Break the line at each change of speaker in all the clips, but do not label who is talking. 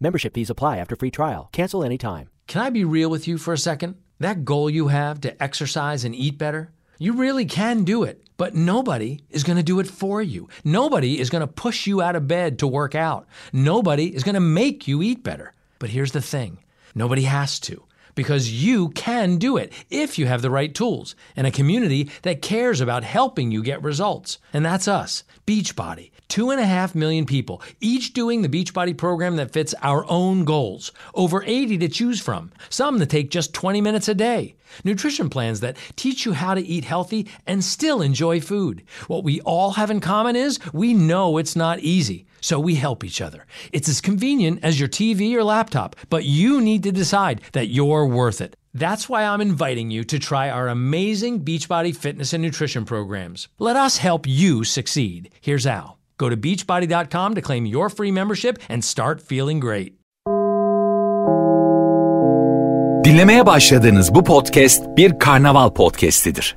Membership fees apply after free trial. Cancel anytime.
Can I be real with you for a second? That goal you have to exercise and eat better, you really can do it, but nobody is going to do it for you. Nobody is going to push you out of bed to work out. Nobody is going to make you eat better. But here's the thing nobody has to. Because you can do it if you have the right tools and a community that cares about helping you get results. And that's us, Beachbody. Two and a half million people, each doing the Beachbody program that fits our own goals. Over 80 to choose from, some that take just 20 minutes a day. Nutrition plans that teach you how to eat healthy and still enjoy food. What we all have in common is we know it's not easy, so we help each other. It's as convenient as your TV or laptop, but you need to decide that you're worth it. That's why I'm inviting you to try our amazing Beachbody fitness and nutrition programs. Let us help you succeed. Here's how. Go to beachbody.com to claim your free membership and start feeling great.
Dinlemeye başladığınız bu podcast bir karnaval podcastidir.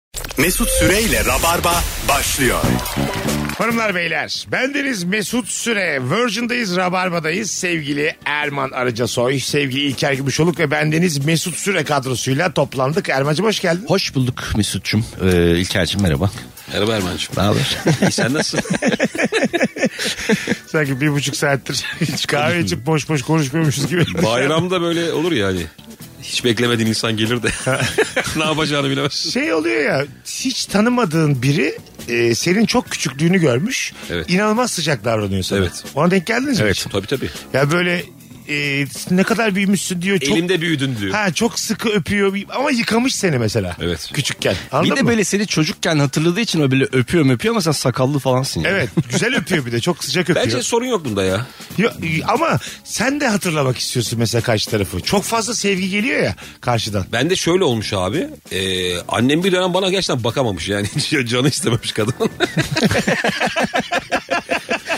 Mesut Süreyle Rabarba başlıyor.
Hanımlar beyler bendeniz Mesut Süre Virgin'dayız Rabarba'dayız sevgili Erman Arıcasoy sevgili İlker Gümüşoluk ve bendeniz Mesut Süre kadrosuyla toplandık Erman'cığım hoş geldin.
Hoş bulduk Mesut'cum. Ee, İlker'cim merhaba.
Merhaba Erman'cığım.
Ne haber?
İyi sen nasılsın?
Sanki bir buçuk saattir hiç kahve içip boş boş konuşmuyormuşuz gibi.
Bayramda böyle olur ya hani. Hiç beklemediğin insan gelir de ne yapacağını bilemez.
şey oluyor ya hiç tanımadığın biri e, senin çok küçüklüğünü görmüş
Evet.
inanılmaz sıcak davranıyor sana.
Evet.
Ona denk geldiniz mi? hiç?
Tabii tabii.
Ya böyle e, ne kadar büyümüşsün diyor. Çok,
Elimde büyüdün diyor.
Ha çok sıkı öpüyor ama yıkamış seni mesela.
Evet.
Küçükken. Anladın
bir de
mı?
böyle seni çocukken hatırladığı için o böyle öpüyor öpüyor ama sen sakallı falansın. Yani.
Evet güzel öpüyor bir de çok sıcak öpüyor.
Bence sorun yok bunda ya.
Ya, ama sen de hatırlamak istiyorsun mesela karşı tarafı. Çok fazla sevgi geliyor ya karşıdan.
Ben de şöyle olmuş abi. Ee, annem bir dönem bana gerçekten bakamamış yani. Canı istememiş kadın.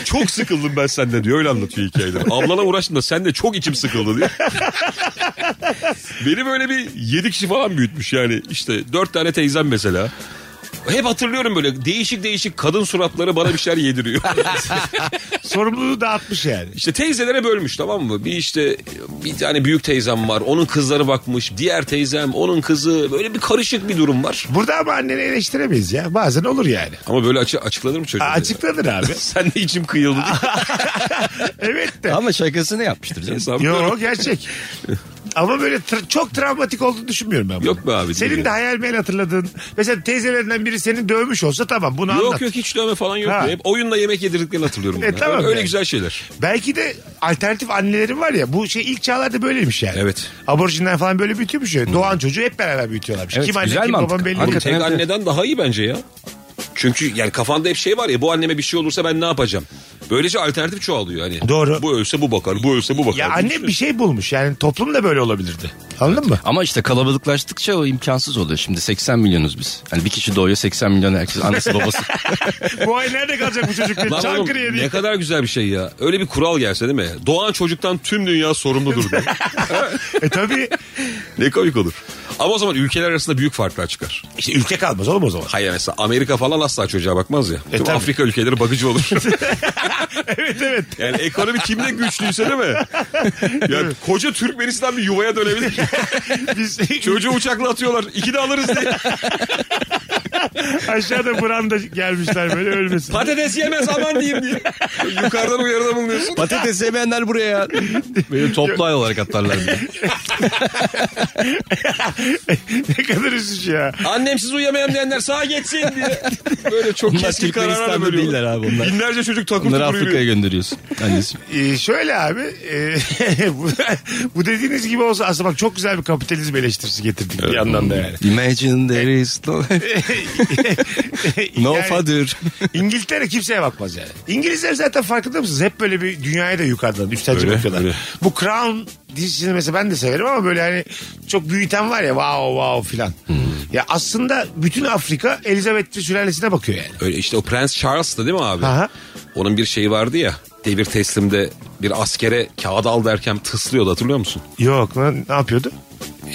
çok sıkıldım ben senden diyor. Öyle anlatıyor hikayede. Ablana uğraştım da sen de çok içim sıkıldı diyor. Beni böyle bir yedi kişi falan büyütmüş yani. İşte dört tane teyzem mesela. Hep hatırlıyorum böyle değişik değişik kadın suratları bana bir şeyler yediriyor.
Sorumluluğu dağıtmış yani.
İşte teyzelere bölmüş tamam mı? Bir işte bir tane büyük teyzem var. Onun kızları bakmış. Diğer teyzem onun kızı. Böyle bir karışık bir durum var.
Burada ama anneni eleştiremeyiz ya. Bazen olur yani.
Ama böyle açı açıklanır mı çocuğa?
Aa, Açıkladın abi.
Sen de içim kıyıldı.
evet de.
Ama şakasını yapmıştır canım.
Hesabı
Yo gerçek. Ama böyle tra- çok travmatik olduğunu düşünmüyorum ben. bunu.
Yok be abi,
Senin
değil
de
ya.
hayal meyal hatırladığın. Mesela teyzelerinden biri seni dövmüş olsa tamam bunu
Yok
anlat.
yok hiç dövme falan yok.
Ha.
Hep oyunla yemek yedirdiklerini hatırlıyorum.
E,
ben.
tamam
öyle
yani.
güzel şeyler.
Belki de alternatif annelerin var ya bu şey ilk çağlarda böyleymiş yani.
Evet.
Aborjinler falan böyle büyütüyormuş ya. Doğan çocuğu hep beraber büyütüyorlarmış.
Evet,
kim anne
güzel
kim
mantık.
baban belli değil.
Abi,
Hakikaten
tek
evet.
anneden daha iyi bence ya. Çünkü yani kafanda hep şey var ya bu anneme bir şey olursa ben ne yapacağım? Böylece alternatif çoğalıyor hani.
Doğru.
Bu ölse bu bakar, bu ölse bu bakar.
Ya
Bu
annem
işte-
bir şey bulmuş. Yani toplum da böyle olabilirdi. Anladın mı?
Ama işte kalabalıklaştıkça o imkansız oluyor. Şimdi 80 milyonuz biz. Hani bir kişi doğuyor 80 milyon herkes annesi babası.
bu ay nerede kalacak bu çocuk? diye
Lan oğlum,
Çankırı'ya diye.
ne kadar güzel bir şey ya. Öyle bir kural gelse değil mi? Doğan çocuktan tüm dünya sorumludur diye.
E tabii.
ne komik olur. Ama o zaman ülkeler arasında büyük farklar çıkar.
İşte ülke kalmaz oğlum o zaman.
Hayır mesela Amerika falan asla çocuğa bakmaz ya. Tüm
E, tabii.
Afrika ülkeleri bakıcı olur.
evet evet.
yani ekonomi kimde güçlüyse değil mi? Ya koca Türkmenistan bir yuvaya dönebilir.
Biz
Çocuğu uçakla atıyorlar. İki de alırız diye.
aşağıda branda gelmişler böyle ölmesin.
Patates yemez aman diyeyim diye. Yukarıdan uyarıda bulunuyorsun.
Patates yemeyenler buraya. Böyle toplu ay olarak atarlar. bir de.
ne kadar üzücü ya.
Annemsiz uyuyamayan diyenler sağa geçsin diye. Böyle çok
Bunlar
keskin kararlar
Türkmenistan'da
veriyorlar.
değiller abi onlar.
Binlerce çocuk takır
Bunları
tukur yürüyor.
Afrika'ya gönderiyorsun. Annesi.
Ee, şöyle abi. e, bu, bu dediğiniz gibi olsa aslında bak çok güzel bir kapitalizm eleştirisi getirdik bir yandan da yani.
Imagine there is no, no
Yani-
father.
İngiltere kimseye bakmaz yani. İngilizler zaten farkında mısınız? Hep böyle bir dünyaya da yukarıdan üstelce
Öyle,
bakıyorlar.
öyle.
Bu Crown dizisini mesela ben de severim ama böyle hani çok büyüten var ya wow wow filan.
Hmm.
Ya aslında bütün Afrika Elizabeth sülalesine bakıyor yani.
Öyle işte o Prens Charles'tı değil mi abi?
Aha.
Onun bir şeyi vardı ya. Devir teslimde bir askere kağıt al derken tıslıyordu hatırlıyor musun?
Yok lan ne yapıyordu?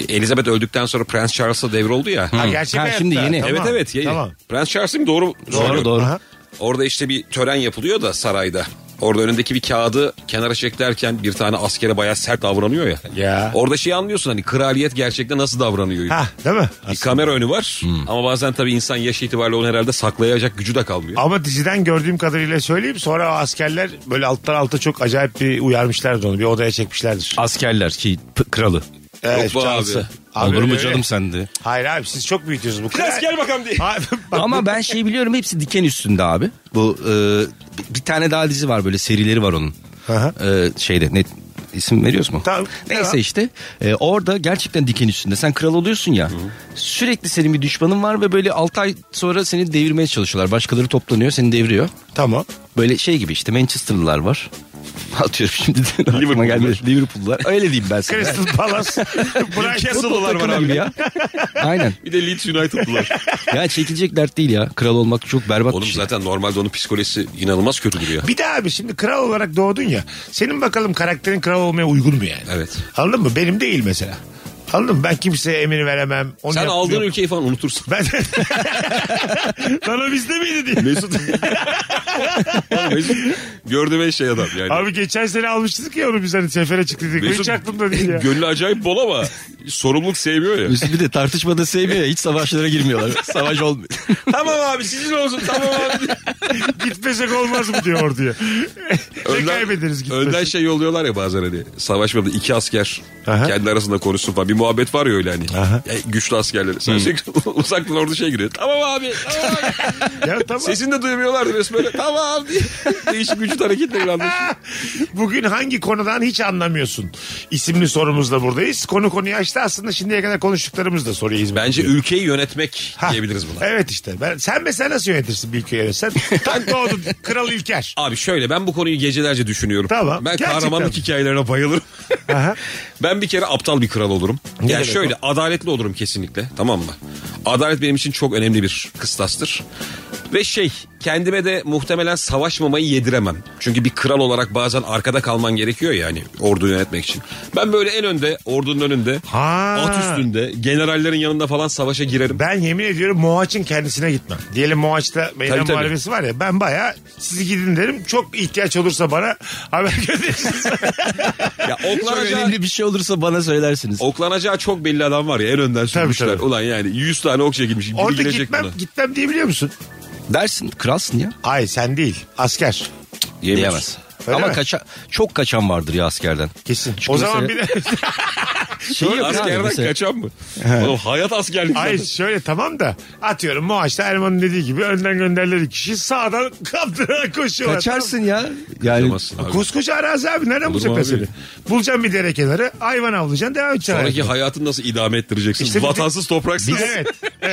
Ee, Elizabeth öldükten sonra Prens Charles'a devroldu ya.
Ha, gerçek
Ha,
hayatta.
şimdi yeni.
Tamam.
Evet evet Hmm. yeni.
Tamam.
Prens Charles değil mi? Doğru. söylüyorum.
doğru.
Aha.
Orada işte bir tören yapılıyor da sarayda. Orada önündeki bir kağıdı kenara çeklerken bir tane askere bayağı sert davranıyor ya.
Ya.
Orada şey anlıyorsun hani kraliyet gerçekten nasıl davranıyor.
Ha, değil mi?
Bir kamera önü var ama bazen tabii insan yaş itibariyle onu herhalde saklayacak gücü de kalmıyor.
Ama diziden gördüğüm kadarıyla söyleyeyim. Sonra o askerler böyle alttan alta çok acayip bir uyarmışlardır onu. Bir odaya çekmişlerdir.
Askerler ki p- kralı.
Evet,
Yok be
Charles'ı.
abi.
Olur
öyle
mu
öyle.
canım sende?
Hayır abi siz çok büyütüyorsunuz bu
Prens gel bakalım diye.
Abi, bak,
Ama ben şey biliyorum hepsi diken üstünde abi. Bu e, bir tane daha dizi var böyle serileri var onun.
Aha.
E, şeyde net isim veriyoruz mu?
Tamam,
Neyse
devam.
işte e, orada gerçekten diken üstünde. Sen kral oluyorsun ya. Sürekli senin bir düşmanın var ve böyle 6 ay sonra seni devirmeye çalışıyorlar. Başkaları toplanıyor seni deviriyor.
tamam.
Böyle şey gibi işte Manchester'lılar var. Atıyorum şimdi aklıma gelmedi. Liverpool'lular. Öyle diyeyim ben sana.
Crystal Palace. Brighton.
Castle'lılar var
Takımı gibi
abi.
ya. Aynen.
Bir de Leeds United'lılar.
Ya çekilecek dert değil ya. Kral olmak çok berbat
Oğlum
bir şey.
zaten normalde onun psikolojisi inanılmaz kötü duruyor.
Bir de abi şimdi kral olarak doğdun ya. Senin bakalım karakterin kral olmaya uygun mu yani?
Evet.
Anladın mı? Benim değil mesela. Anladın mı? Ben kimseye emir veremem. Onu
Sen
yap-
aldığın
yok.
ülkeyi falan unutursun.
Ben... Bana bizde miydi diye.
Mesut. Mesut gördüğüm şey adam yani.
Abi geçen sene almıştık ya onu biz hani sefere çıktıydık. Hiç aklımda değil ya.
Gönlü acayip bol ama sorumluluk sevmiyor ya.
Üstü bir de tartışmada sevmiyor ya. Hiç savaşlara girmiyorlar. Savaş olmuyor.
tamam abi sizin olsun tamam abi.
Gitmesek olmaz mı diyor orduya. ne Şey kaybederiz gitmesek.
önden şey yolluyorlar ya bazen hani savaşmada iki asker
Aha.
kendi arasında konuşsun falan. Bir muhabbet var ya öyle hani. Ya güçlü askerleri. Sen
Hmm.
sürekli uzaktan orada şey giriyor. Tamam abi tamam abi.
Ya tamam.
Sesini de duymuyorlardı resmen böyle. Tamam abi. Değişik vücut hareketleriyle anlaşılıyor.
Bugün hangi konudan hiç anlamıyorsun? İsimli sorumuzla buradayız. Konu konuyu açtı aslında şimdiye kadar konuştuklarımız da soruya hizmet
Bence
ediyor.
ülkeyi yönetmek
Ha,
diyebiliriz buna.
Evet işte. Ben, sen mesela nasıl yönetirsin bir ülkeyi yönetsen? Tam doğdun. Kral İlker.
Abi şöyle ben bu konuyu gecelerce düşünüyorum.
Tamam,
Ben
gerçekten
kahramanlık
mi?
hikayelerine bayılırım.
Aha.
ben bir kere aptal bir kral olurum. yani
demek
şöyle adaletli olurum kesinlikle tamam mı? Adalet benim için çok önemli bir kıstastır. Ve şey kendime de muhtemelen savaşmamayı yediremem. Çünkü bir kral olarak bazen arkada kalman gerekiyor yani ordu yönetmek için. Ben böyle en önde ordunun önünde
Ha.
at üstünde generallerin yanında falan savaşa girerim.
Ben yemin ediyorum Moğaç'ın kendisine gitmem. Diyelim Moğaç'ta
Tabii,
meydan
tabii.
muharebesi var ya ben baya siz gidin derim. Çok ihtiyaç olursa bana haber gönderirsiniz.
Ya
Çok
oklanacağı,
önemli bir şey olursa bana söylersiniz.
oklanacağı çok belli adam var ya en önden sürmüşler.
tabii.
Ulan yani 100 tane ok çekilmiş. Biri
Orada
girecek
gitmem,
buna.
gitmem diyebiliyor musun?
Dersin kralsın ya.
Ay sen değil asker.
Yemiyorsun.
Diyemez.
Öyle
Ama
mi?
kaça, çok kaçan vardır ya askerden.
Kesin.
Çünkü
o zaman
mesela-
bir de
Şey
Böyle
yapıyor abi
askerden
mesela.
kaçan mı? Oğlum hayat askerlik.
Ay şöyle tamam da atıyorum Moaç'ta Erman'ın dediği gibi önden gönderileri kişi sağdan kaptırarak koşuyorlar.
Kaçarsın ya. Yani
Tamam. Koskoca arazi abi nereden
mu
bulacak
abi?
seni? Bulacaksın bir dere kenarı hayvan avlayacaksın devam edeceksin.
Sonraki
hayatına.
hayatını nasıl idame ettireceksin?
İşte bir de-
Vatansız topraksız.
Evet.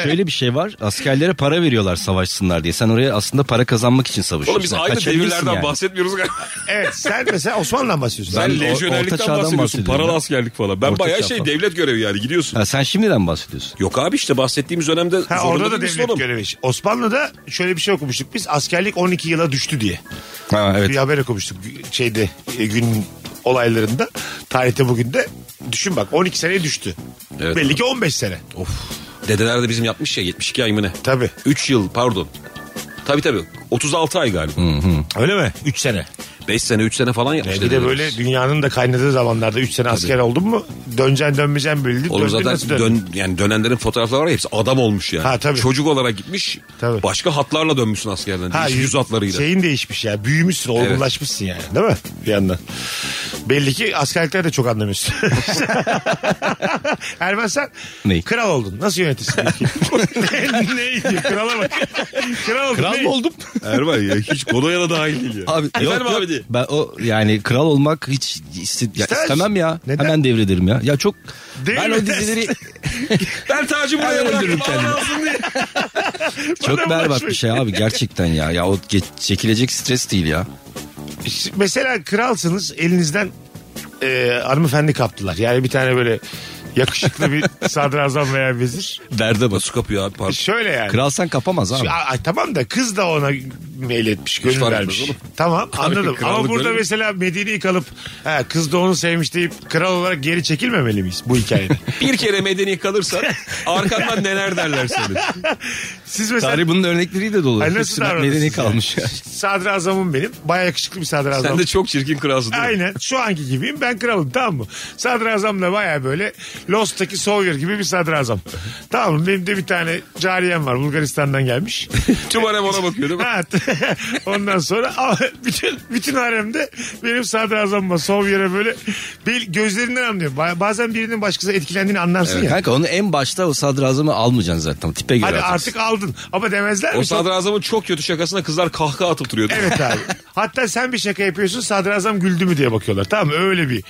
şöyle bir şey var. Askerlere para veriyorlar savaşsınlar diye. Sen oraya aslında para kazanmak için savaşıyorsun.
Oğlum biz
Yani
aynı
kaçabilirsin
devirlerden
yani.
bahsetmiyoruz galiba.
evet sen mesela Osmanlı'dan bahsediyorsun.
Ben
Sen
o- orta
lejyonerlikten
çağdan
bahsediyorsun.
bahsediyorum
Paralı
ben.
askerlik falan. Ben
Orta
bayağı
çağ
şey
falan.
devlet görevi yani gidiyorsun.
Ha, sen şimdiden bahsediyorsun.
Yok abi işte bahsettiğimiz dönemde
Ha,
zorunda
orada da
değilsin
devlet
oğlum.
görevi. Osmanlı'da şöyle bir şey okumuştuk biz. Askerlik 12 yıla düştü diye.
Ha, evet.
Bir haber okumuştuk şeyde e, gün olaylarında. Tarihte bugün de. Düşün bak 12 seneye düştü.
Evet.
Belli ki 15 sene.
Of. Dedeler de bizim yapmış ya 72 ay mı ne?
Tabii.
3 yıl pardon. Tabii tabii. 36 ay galiba.
Öyle mi? 3 sene.
5 sene 3 sene falan yapmış.
Yani E, bir de
dedelerimiz.
böyle dünyanın da kaynadığı zamanlarda 3 sene asker oldun mu döneceksin dönmeyeceksin belli değil.
Oğlum
Döndün
zaten
nasıl dön-
dön, yani dönenlerin fotoğrafları var ya hepsi adam olmuş yani.
Ha, tabii.
Çocuk olarak gitmiş
Tabii.
başka hatlarla dönmüşsün askerden.
Ha, şey-
Değişik yüz hatlarıyla.
Şeyin değişmiş ya. Büyümüşsün, olgunlaşmışsın yani. Değil mi? Bir yandan. Belli ki askerlikler de çok anlamıyorsun. Erman sen
Neyi?
kral oldun. Nasıl yönetirsin ülkeyi? Neyi diyor? Krala bak. Kral oldun.
Kral
neyi?
mı oldum?
Erman ya hiç konuya da dahil değil ya.
Abi, yok,
Efendim
yok.
abi diye.
Ben o yani kral olmak hiç iste- ya
İstemez.
istemem ya.
Neden?
Hemen devrederim ya. Ya çok
Değil
ben
mi?
o dizileri
Ben tacı
Ben
buraya
öldürürüm
bıraktım.
kendimi.
Allah alsın diye.
çok
Bana
berbat
ulaşmayın.
bir şey abi gerçekten ya. Ya o geç, çekilecek stres değil ya.
Mesela kralsınız elinizden e, hanımefendi kaptılar. Yani bir tane böyle yakışıklı bir sadrazam veya vezir.
Derde bas.
Nasıl kapıyor abi pardon.
Şöyle yani.
Kralsan kapamaz abi.
Ay, ay, tamam da kız da ona mail etmiş, gönül
fark
vermiş.
etmez oğlum.
Tamam anladım. Ama
krallık
burada
öyle.
mesela medeni kalıp ha, kız da onu sevmiş deyip kral olarak geri çekilmemeli miyiz bu hikayede?
Bir kere medeni kalırsan arkandan neler derler seni.
Siz mesela
Tarih bunun örnekleri de dolu.
Ay, nasıl
Hepsi
davranırsın
medeni
yani?
kalmış.
sadrazamım benim. Baya yakışıklı bir sadrazam.
Sen de çok çirkin kralsın değil mi?
Aynen şu anki gibiyim ben kralım tamam mı? Sadrazam da baya böyle Lost'taki Sawyer gibi bir sadrazam. tamam mı? Benim de bir tane cariyem var Bulgaristan'dan gelmiş.
Tüm alem ona bakıyor değil mi?
Evet. Ondan sonra ama bütün bütün haremde benim sadrazamıma Sawyer'e böyle bel- gözlerinden anlıyorum. Ba- Bazen birinin başkası etkilendiğini anlarsın ya.
Kanka onu en başta o sadrazamı almayacaksın zaten. Tipe göre
Hadi
atacaksın.
artık aldın. Ama demezler mi?
O
Çok-
sadrazamın çok kötü şakasına kızlar kahkaha atıp duruyordu.
Evet abi. Hatta sen bir şaka yapıyorsun sadrazam güldü mü diye bakıyorlar. Tamam mı? öyle bir.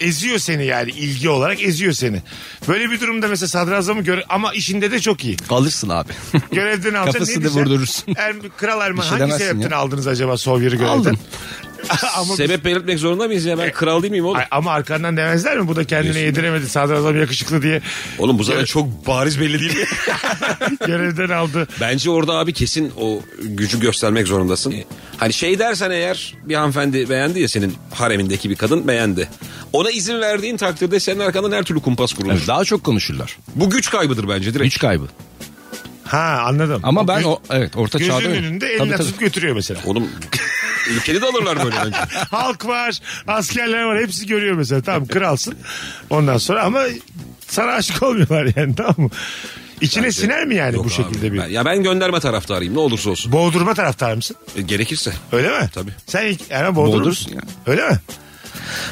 Eziyor seni yani ilgi olarak eziyor seni. Böyle bir durumda mesela sadrazamı gör ama işinde de çok iyi.
Alırsın abi.
Görevden alacaksın.
Kafası
ne
da
diyeceksin?
vurdurursun.
Er- Kral Erman
Bir şey
hangi
demezsin
sebepten
ya.
aldınız acaba Sovyer'i görevden?
Aldım.
ama
Sebep belirtmek zorunda mıyız ya? Ben kral değil miyim oğlum?
E- Ay, ama arkandan demezler mi? Bu da kendine yediremedi. Sadrazam yakışıklı diye
Oğlum bu zaten çok bariz belli değil mi?
görevden aldı.
Bence orada abi kesin o gücü göstermek zorundasın.
E,
Hani şey dersen eğer bir hanımefendi beğendi ya senin haremindeki bir kadın beğendi. Ona izin verdiğin takdirde senin arkandan her türlü kumpas kurulur.
Evet, daha çok konuşurlar.
Bu güç kaybıdır bence direkt.
Güç kaybı.
Ha anladım.
Ama ben
Göz-
o evet orta
gözünün
çağda.
önünde
Tabii,
elini
tabii.
atıp götürüyor mesela.
Oğlum ülkeni de alırlar böyle bence.
Halk var, askerler var. Hepsi görüyor mesela. Tamam kralsın. Ondan sonra ama sana aşık olmuyorlar yani tamam mı? İçine siner mi yani
Yok
bu
abi.
şekilde bir?
Ben- Ya ben gönderme taraftarıyım ne olursa olsun.
Boğdurma taraftarı mısın?
E, gerekirse.
Öyle mi?
Tabii.
Sen ilk yani boğdurur
Boğdursun
musun?
ya.
Öyle mi?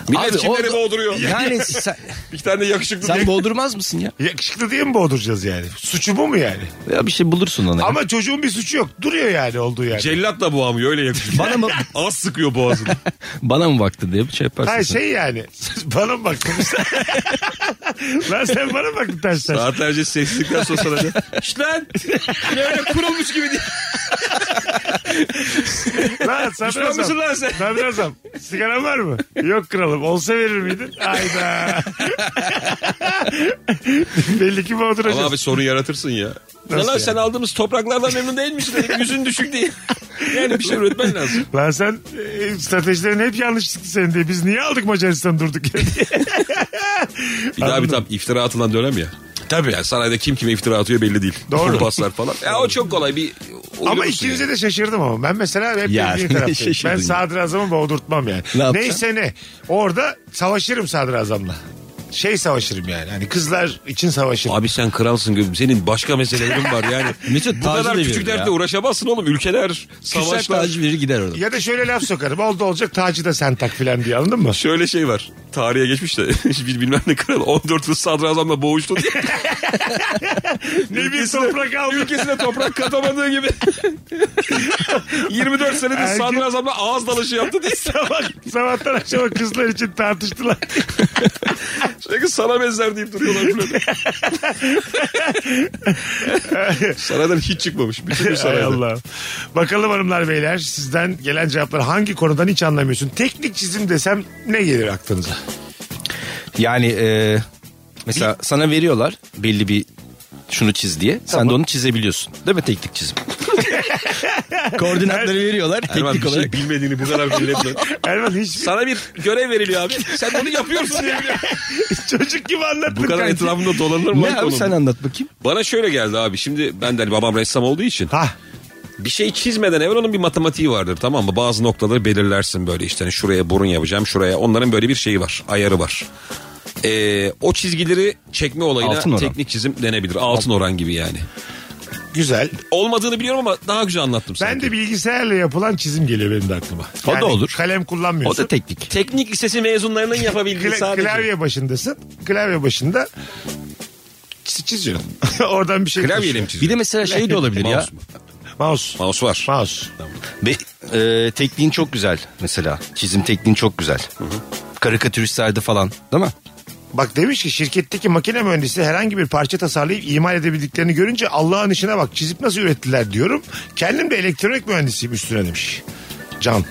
Millet kimleri
o-
boğduruyor?
Yani sen,
Bir tane yakışıklı
sen
diye-
boğdurmaz mısın ya?
Yakışıklı diye mi boğduracağız yani? Suçu bu mu yani?
Ya bir şey bulursun ona.
Ama çocuğun bir suçu yok. Duruyor yani olduğu yerde.
Cellat da boğamıyor öyle yakışıklı.
Bana mı-
Az sıkıyor boğazını.
Bana mı baktı diye bir şey yaparsın.
Hayır
sen.
şey yani. bana mı baktın? Lan sen bana mı baktın ters ters?
Saatlerce sessizlikten şey, sonra sana diyor, "Şşt lan! Yine öyle kurulmuş gibi diye.
Lan
Düşman mısın
sadrazam.
lan sen?
Sadrazam. Sigaran var mı? Yok kralım. Olsa verir miydin? Hayda. Belli ki
Ama
boğduracağız.
abi sorun yaratırsın ya.
Nasıl
Lan
yani?
sen aldığımız topraklardan memnun değil misin? Dedik, Yüzün düşük diye. Yani bir şey üretmen lazım.
Lan sen e, stratejilerin hep yanlış çıktı senin diye. Biz niye aldık Macaristan'ı durduk yere diye.
Bir daha bir tam iftira atılan dönem ya. Tabii. Yani sarayda kim kime iftira atıyor belli değil.
Doğru.
Kupaslar falan. Ya o çok kolay bir...
Ama
Uyuyorsun
ikinize
yani.
de şaşırdım ama. Ben mesela hep
Ya,
bildiğin
ne
taraftayım. Ben
şaşırdın ya?
sadrazamı boğdurtmam yani.
Ne yapacaksın?
Neyse ne. Orada savaşırım sadrazamla. Şey savaşırım yani. Hani kızlar için savaşırım.
Abi sen kralsın gözüm. Senin başka meselelerin var yani.
Mesut
Bu
tacı
kadar
da
küçük
verir
dertle
ya.
uğraşamazsın oğlum. Ülkeler,
Küser
savaşlar.
tacı verir gider orada.
Ya da şöyle laf sokarım. Oldu olacak tacı da sen tak filan diye anladın mı?
Şöyle şey var. Tarihe geçmiş de bir bilmem ne kral 14 yıl sadrazamla boğuştu diye.
ne bir toprak aldık.
Ülkesine toprak katamadığı gibi. 24 senedir
Erkek-
sadrazamla ağız dalaşı yaptı diye.
Sabah, sabahtan akşama kızlar için tartıştılar.
Çünkü sana benzer deyip duruyorlar flörde. Saraydan hiç çıkmamış. Bütün
Şey,
gün
Hay
sarayda.
Allah. Bakalım hanımlar beyler sizden gelen cevaplar hangi konudan hiç anlamıyorsun? Teknik çizim desem ne gelir aklınıza?
Yani e, mesela sana veriyorlar belli bir şunu çiz diye. Sen de onu çizebiliyorsun. Değil mi teknik çizim? Koordinatları veriyorlar
Erman
teknik
bir
olarak.
şey bilmediğini bu kadar belli etme.
Erman hiç
Sana bir görev veriliyor abi. Sen bunu yapıyorsun diye biliyorum.
çocuk gibi anlattın.
Bu kadar
kanki.
etrafında dolanır mı?
Ne abi
oğlum?
sen anlat bakayım.
Bana şöyle geldi abi. Şimdi ben de hani babam ressam olduğu için.
Hah.
bir şey çizmeden evvel onun bir matematiği vardır tamam mı? Bazı noktaları belirlersin böyle işte hani şuraya burun yapacağım şuraya. Onların böyle bir şeyi var ayarı var. Ee, o çizgileri çekme olayına
Altın oran.
teknik çizim denebilir. Altın, oran gibi yani.
Güzel.
Olmadığını biliyorum ama daha güzel anlattım
Ben
sanki.
de bilgisayarla yapılan çizim geliyor benim de aklıma.
O da olur.
Kalem
O
kullanmıyorsun.
da teknik.
Teknik lisesi mezunlarının yapabildiği
Kla-
sadece.
klavye başındasın. Klavye başında çiz- çiziyorsun. Oradan bir şey.
Klavyeyle
koşuyor.
mi
Bir
çiziyor?
de mesela şey de olabilir ya.
Mouse mu?
Mouse.
Mouse var.
Mouse.
Ve, e, tekniğin çok güzel mesela. Çizim tekniğin çok güzel. Karikatüristlerde falan değil mi?
Bak demiş ki şirketteki makine mühendisi herhangi bir parça tasarlayıp imal edebildiklerini görünce Allah'ın işine bak çizip nasıl ürettiler diyorum. Kendim de elektronik mühendisiyim üstüne demiş. Can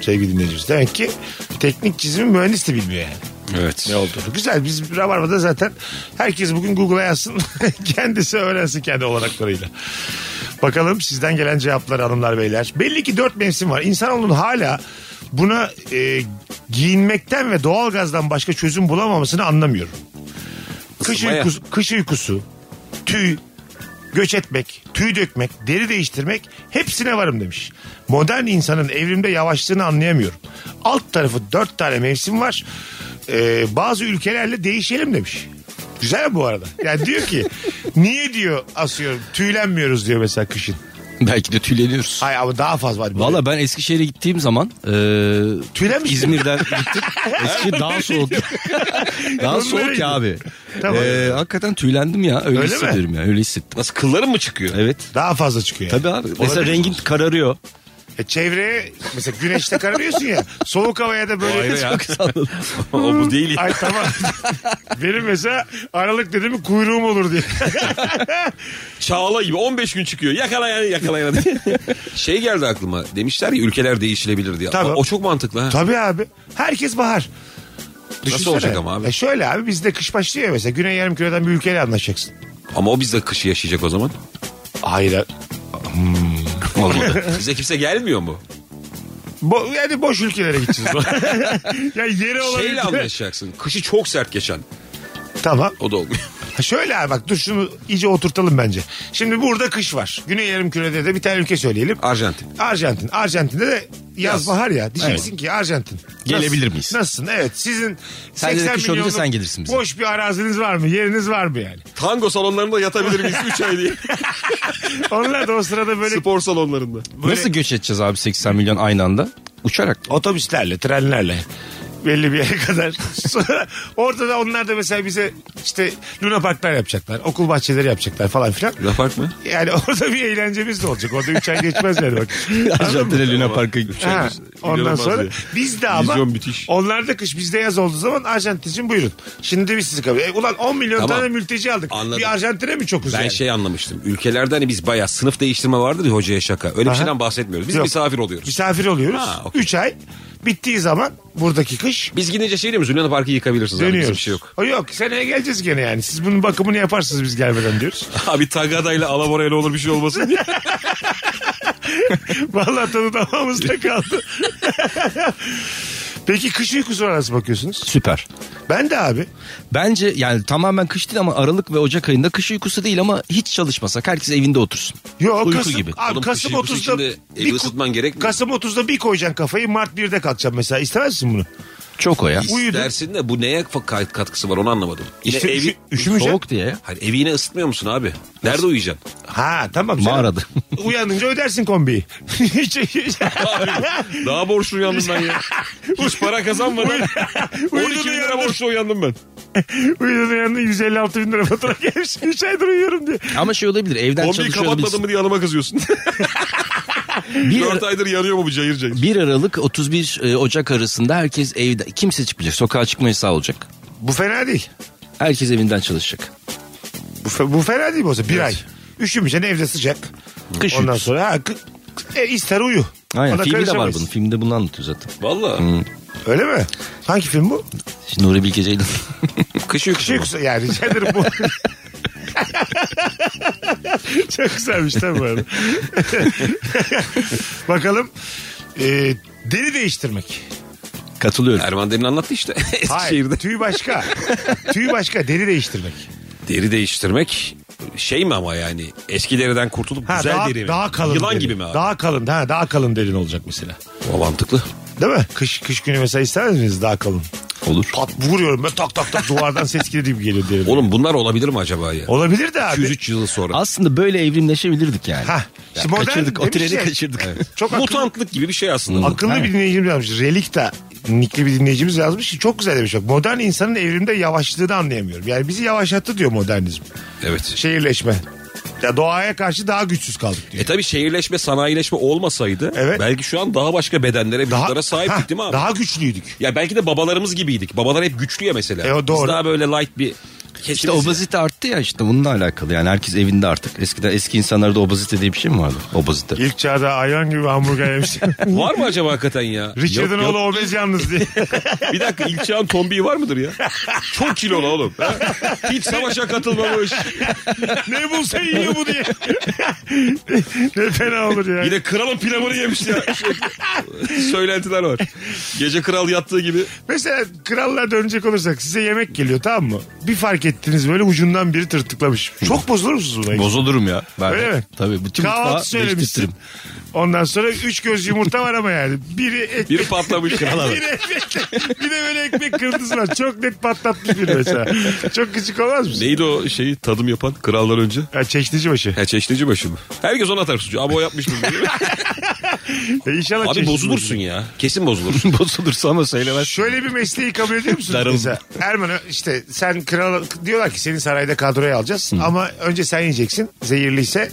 sevgili dinleyicimiz. Demek ki teknik çizimi mühendis de bilmiyor yani.
Evet.
Ne olduğunu. Güzel biz Rabarba'da zaten herkes bugün Google'a yazsın. kendisi öğrensin kendi olanaklarıyla. Bakalım sizden gelen cevapları hanımlar beyler. Belli ki dört mevsim var. İnsanoğlunun hala buna e, giyinmekten ve doğalgazdan başka çözüm bulamamasını anlamıyorum. Kış,
Isınmaya.
uykusu, kış uykusu, tüy, göç etmek, tüy dökmek, deri değiştirmek hepsine varım demiş. Modern insanın evrimde yavaşlığını anlayamıyorum. Alt tarafı dört tane mevsim var. Ee, bazı ülkelerle değişelim demiş. Güzel bu arada. Yani diyor ki niye diyor asıyorum tüylenmiyoruz diyor mesela kışın.
Belki de tüyleniyoruz.
Hayır ama daha fazla. var.
Valla ben Eskişehir'e gittiğim zaman e,
Tüylenmiş mi?
İzmir'den gittim. Eskişehir daha soğuk. daha soğuk ya abi.
Tamam.
Ee,
E, hakikaten tüylendim ya. Öyle,
Öyle mi?
hissediyorum ya. Öyle hissettim.
Nasıl kılların mı çıkıyor?
Evet.
daha fazla çıkıyor. yani.
Tabii abi. Mesela
Olabilir.
rengin kararıyor.
E, çevreye mesela güneşte kararıyorsun ya. Soğuk havaya da böyle
Ayrı ya. o bu değil ya.
Ay tamam. Benim mesela aralık dedi mi kuyruğum olur diye.
Çağla gibi 15 gün çıkıyor. Yakala yani yakala yani. şey geldi aklıma. Demişler ya ülkeler değişilebilir diye.
Tabii.
O çok mantıklı ha.
Tabii abi. Herkes bahar. Düşünsene.
olacak ama abi?
E şöyle abi bizde kış başlıyor ya mesela. Güney Yarımküre'den bir ülkeyle anlaşacaksın.
Ama o bizde kışı yaşayacak o zaman.
Hayır.
Olmadı. Bize kimse gelmiyor mu?
Bo yani boş ülkelere gideceğiz. ya yeri
Şeyle
olabilir.
anlaşacaksın. Kışı çok sert geçen.
tamam.
O da olmuyor.
Ha Şöyle abi bak dur şunu iyice oturtalım bence. Şimdi burada kış var. Güney Yarımküre'de de bir tane ülke söyleyelim.
Arjantin.
Arjantin. Arjantin'de de yaz,
Yaz.
bahar ya. Diyeceksin ki Arjantin.
Gelebilir
Nasıl-
miyiz?
Nasılsın? Evet sizin
Sen de
80
kış olunca
milyonluk
sen gelirsin bize.
boş bir araziniz var mı? Yeriniz var mı yani?
Tango salonlarında yatabilir miyiz 3 ay diye.
Onlar da o sırada böyle
Spor salonlarında.
Nasıl göç edeceğiz abi 80 milyon aynı anda? Uçarak.
otobüslerle, trenlerle belli bir yere kadar. Sonra orada da onlar da mesela bize işte Luna Parklar yapacaklar, okul bahçeleri yapacaklar falan filan.
Yapar mı?
Yani orada bir eğlencemiz de olacak. Orada 3 ay geçmez yani bak.
Arjantin'e Luna Park'a
Şey,
gitmiş.
Ha, ondan
İnanılmaz
sonra
ya.
biz de ama
Vizyon müthiş.
onlar da kış bizde yaz olduğu zaman Arjantin'cim buyurun. Şimdi biz sizi kabul. E, ulan 10 milyon
Tamam.
tane mülteci aldık.
Anladım.
Bir Arjantin'e mi çokuz
Ben
yani?
şey anlamıştım. Ülkelerde hani biz bayağı sınıf değiştirme vardır ya hocaya şaka. Öyle bir
Aha.
şeyden bahsetmiyoruz. Biz
Yok.
misafir oluyoruz.
Misafir oluyoruz.
Ha, okey.
3 ay bittiği zaman buradaki kış
Biz gidince şey diyoruz. Luna Park'ı yıkabilirsiniz. abi, bizim
dönüyoruz.
Bir şey yok.
O yok seneye geleceğiz gene yani. Siz bunun bakımını yaparsınız biz gelmeden diyoruz.
Abi Tagada'yla Alabora'yla olur bir şey olmasın diye.
Vallahi tadı damağımızda kaldı. Peki kış uykusuna nasıl bakıyorsunuz?
Süper.
Ben de abi.
Bence yani tamamen kış değil ama Aralık ve Ocak ayında kış uykusu değil ama hiç çalışmasak herkes evinde otursun.
Yok
Uyku
Kasım,
gibi.
Abi,
Oğlum,
Kasım
kış uykusu
30'da
içinde evi
bir,
ısıtman gerekmiyor.
Kasım 30'da bir koyacaksın kafayı Mart 1'de kalkacaksın mesela. İstemez misin bunu?
Çok o ya.
Uyudun.
İstersin de bu neye fa- katkısı var onu anlamadım. Yine
İşte
evi,
üşü- üşümeyeceksin.
Soğuk diye.
Hayır, evi yine ısıtmıyor musun abi? Nerede uyuyacaksın?
Ha tamam. canım.
Mağarada.
Uyanınca ödersin kombiyi. Hiç- hiç-
Daha borçlu uyandım ben ya. Hiç para kazanmadan
Uyudun
12 bin lira
uyandın.
borçlu uyandım ben.
Uyudun uyandın 156 bin lira fatura gelmiş. 3 aydır uyuyorum diye.
Ama şey olabilir evden
11'yi
çalışıyor
kapatmadım
olabilirsin.
mı diye yanıma kızıyorsun.
Bir,
4 aydır yanıyor mu bu cayır cayır?
1 Aralık 31 e, Ocak arasında herkes evde kimse çıkmayacak. Sokağa çıkma yasağı olacak.
Bu fena değil.
Herkes evinden çalışacak.
Bu, fe- bu fena değil mi olsa? Bir ay. Üşümeyeceksin evde sıcak.
Kış
Ondan
uykusu.
sonra ha, kı- e, ister uyu.
Aynen
Ona
filmi de var
karışamayız.
bunun. Filmde bunu anlatıyor zaten.
Valla.
Öyle mi? Hangi film bu?
Şimdi Nuri Bilge Ceylan.
Kış uykusu
Şey
mu?
güzel yani rica ederim bu. Çok güzelmiş tabii bu arada. Bakalım. E, deri değiştirmek.
Katılıyorum.
Erman Derin anlattı işte.
Hayır
Eskişehir'de.
tüy başka. tüy başka deri değiştirmek.
Deri değiştirmek şey mi ama yani eski deriden kurtulup
Ha,
güzel
daha,
deri mi?
daha kalın
Yılan
deri.
gibi mi abi?
Daha kalın. Ha, daha kalın derin olacak mesela.
O mantıklı.
Değil mi? Kış, kış günü mesela ister misiniz daha kalın?
Olur.
Pat vuruyorum ben tak tak tak duvardan ses geliyor gibi geliyor derin.
Oğlum bunlar olabilir mi acaba ya?
Olabilir de abi.
203 yıl sonra.
Aslında böyle evrimleşebilirdik yani.
Ha.
Ya
işte modern
kaçırdık. O
demiş
treni
ya.
kaçırdık.
Çok akıllı,
Mutantlık gibi bir şey aslında. bu.
akıllı bir dinleyicimiz yazmış. Relikta nikli bir dinleyicimiz yazmış ki çok güzel demiş. Bak, modern insanın evrimde yavaşlığını anlayamıyorum. Yani bizi yavaşlattı diyor modernizm.
Evet.
Şehirleşme. Ya doğaya karşı daha güçsüz kaldık diyor.
E tabi şehirleşme sanayileşme olmasaydı
Evet.
belki şu an daha başka bedenlere vücutlara sahiptik
Hah,
değil mi abi?
Daha güçlüydük.
Ya belki de babalarımız gibiydik. Babalar hep güçlü ya mesela.
E, o doğru.
Biz daha böyle light bir
İşte
Kesinlikle.
obezite arttı ya işte bununla alakalı. Yani herkes evinde artık. Eskiden eski insanlarda obezite diye bir şey mi vardı? Obezite.
İlk çağda hayvan gibi hamburger yemiş.
Var mı acaba hakikaten ya?
Richard'ın oğlu obez yalnız diye.
Bir dakika ilk çağın tombiği var mıdır ya? Çok kilolu oğlum. ha? Hiç savaşa katılmamış.
ne bulsa yiyor bu diye. ne fena olur ya.
Bir de kralın pilavını yemiş ya. Söylentiler var. Gece kral yattığı gibi.
Mesela krallığa dönecek olursak size yemek geliyor tamam mı? Bir fark ettiniz böyle ucundan biri tırtıklamış. Çok bozulur musunuz buna?
Bozulurum ya. Ben
Öyle mi?
Tabii bütün mutfağı
Kahvaltı
değiştirtirim.
söylemişsin. Ondan sonra üç göz yumurta var ama yani. Biri ekmek.
Biri patlamış.
Bir de ekmek- bir de böyle ekmek kırıntısı var. Çok net patlatmış biri mesela. Çok küçük olmaz mı?
Neydi o şeyi tadım yapan krallar önce?
Ya çeşnici başı.
Ha çeşnici başı mı? Herkes ona atar suçu. Abi o yapmıştır. diyor.
E inşallah
Abi
çeşnici
bozulursun
başı.
ya. Kesin bozulursun.
Bozulursa ama söylemez.
Şöyle bir mesleği kabul ediyor musun?
Darıldım.
Mesela Erman işte sen kral diyorlar ki seni sarayda kadroya alacağız ama önce sen yiyeceksin. Zehirliyse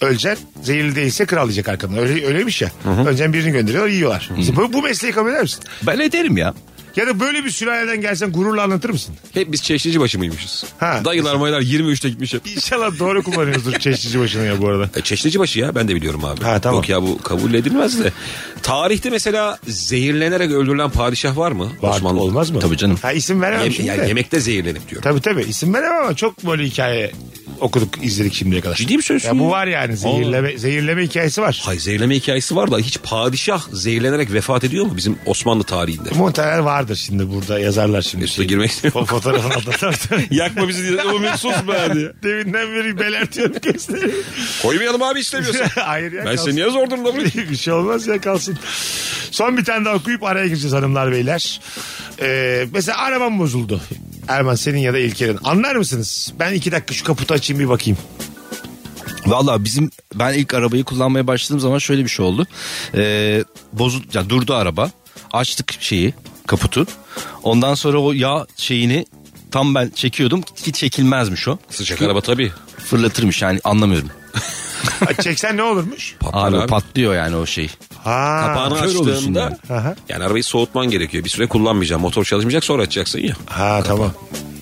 öleceksin. Zehirli değilse kral yiyecek arkadan. Öyle, öyleymiş ya. Önce birini gönderiyor yiyorlar. Mesela Bu, bu mesleği kabul eder misin?
Ben ederim ya.
Ya da böyle bir sülaleden gelsen gururla anlatır mısın?
Hep biz çeşnici başı mıymışız?
Ha.
Dayılar maylar 23'te gitmiş hep.
İnşallah doğru kullanıyoruzdur çeşnici başını ya bu arada.
E, çeşnici başı ya ben de biliyorum abi.
Ha, tamam.
Yok ya bu kabul edilmez de. Tarihte mesela zehirlenerek öldürülen padişah var mı?
Var, olmaz mı?
Tabii canım.
Ha isim veremem
Yem-
şimdi
ya
de.
yemekte zehirlenip diyor.
Tabii tabii isim veremem ama çok böyle hikaye okuduk izledik şimdiye kadar.
Ciddi mi söylüyorsun
Ya bu
ya?
var yani zehirleme, zehirleme hikayesi var.
Hay zehirleme hikayesi var da hiç padişah zehirlenerek vefat ediyor mu bizim Osmanlı tarihinde?
Şey, Muhtemelen vardır şimdi burada yazarlar şimdi.
Mesut'a girmek
O
istemiyorum.
fotoğrafın altında tabii tabii.
Yakma bizi diye. O Mesut be diye.
Deminden beri belertiyorum gösteriyor.
Koymayalım abi istemiyorsan.
Hayır ya
ben
kalsın.
seni niye zor durumda bırakayım?
bir şey olmaz ya kalsın. Son bir tane daha okuyup araya gireceğiz hanımlar beyler. Ee, mesela arabam bozuldu. Erman senin ya da İlker'in. Anlar mısınız? Ben iki dakika şu kaputu açayım bir bakayım.
Valla bizim ben ilk arabayı kullanmaya başladığım zaman şöyle bir şey oldu. Ee, bozul, yani durdu araba. Açtık şeyi kaputu. Ondan sonra o yağ şeyini tam ben çekiyordum ki çekilmezmiş o.
Sıcak araba tabii.
Fırlatırmış yani anlamıyorum.
Ha, Çeksen ne olurmuş?
Patlar
Abi,
abi.
patlıyor yani o şey.
Ha.
Kapağını
kör olursun
açtığında
Aha.
yani arabayı soğutman gerekiyor. Bir süre kullanmayacağım. Motor çalışmayacak sonra açacaksın ya.
Ha tamam.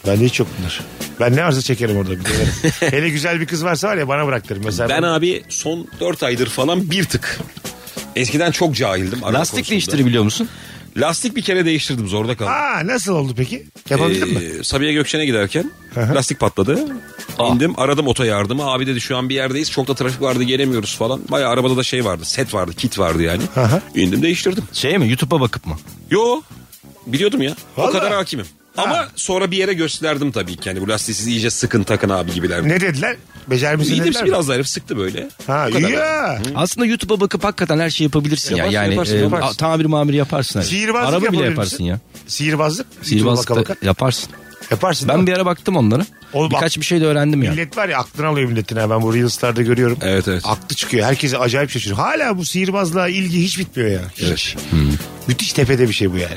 Bende hiç yok bunlar. Ben ne varsa çekerim orada. bir denerim. Hele güzel bir kız varsa var ya bana bıraktırır. Mesela
Ben abi son 4 aydır falan bir tık. Eskiden çok cahildim. araba
Lastik
konusunda.
değiştirebiliyor musun?
Lastik bir kere değiştirdim zorda kaldım.
Aa, nasıl oldu peki? Yapabildin mi?
Ee, Sabiha Gökçen'e giderken lastik patladı. İndim aradım oto yardımı. Abi dedi şu an bir yerdeyiz. Çok da trafik vardı gelemiyoruz falan. Bayağı arabada da şey vardı. Set vardı. Kit vardı yani.
Aha.
İndim değiştirdim.
Şeye mi YouTube'a bakıp mı?
Yo biliyordum ya.
Vallahi.
O kadar hakimim. Ama sonra bir yere gösterdim tabii ki. Yani bu lastiği siz iyice sıkın takın abi gibiler.
Ne dediler? Becer misin
İndim
dediler mi?
Ee, biraz da herif sıktı böyle.
Ha,
Bu kadar.
ya.
Aslında YouTube'a bakıp hakikaten her şeyi yapabilirsin
Yaparsın,
ya. Yani
yaparsın,
e,
yaparsın.
a- tamir mamiri yaparsın. Hani.
Sihirbazlık
Araba bile
yapabilir
yaparsın
misin?
ya.
Sihirbazlık.
Sihirbazlık
YouTube'a baka
da
baka.
yaparsın.
Yaparsın. değil
Ben
mi?
bir ara baktım onlara.
Oğlum bak-
Birkaç bir şey de öğrendim ya.
Millet var ya aklını alıyor milletin ha. Ben bu Reels'larda görüyorum.
Evet, evet.
Aklı çıkıyor. Herkese acayip şaşırıyor. Hala bu sihirbazlığa ilgi hiç bitmiyor ya. Hiç.
Hmm.
Müthiş tepede bir şey bu yani.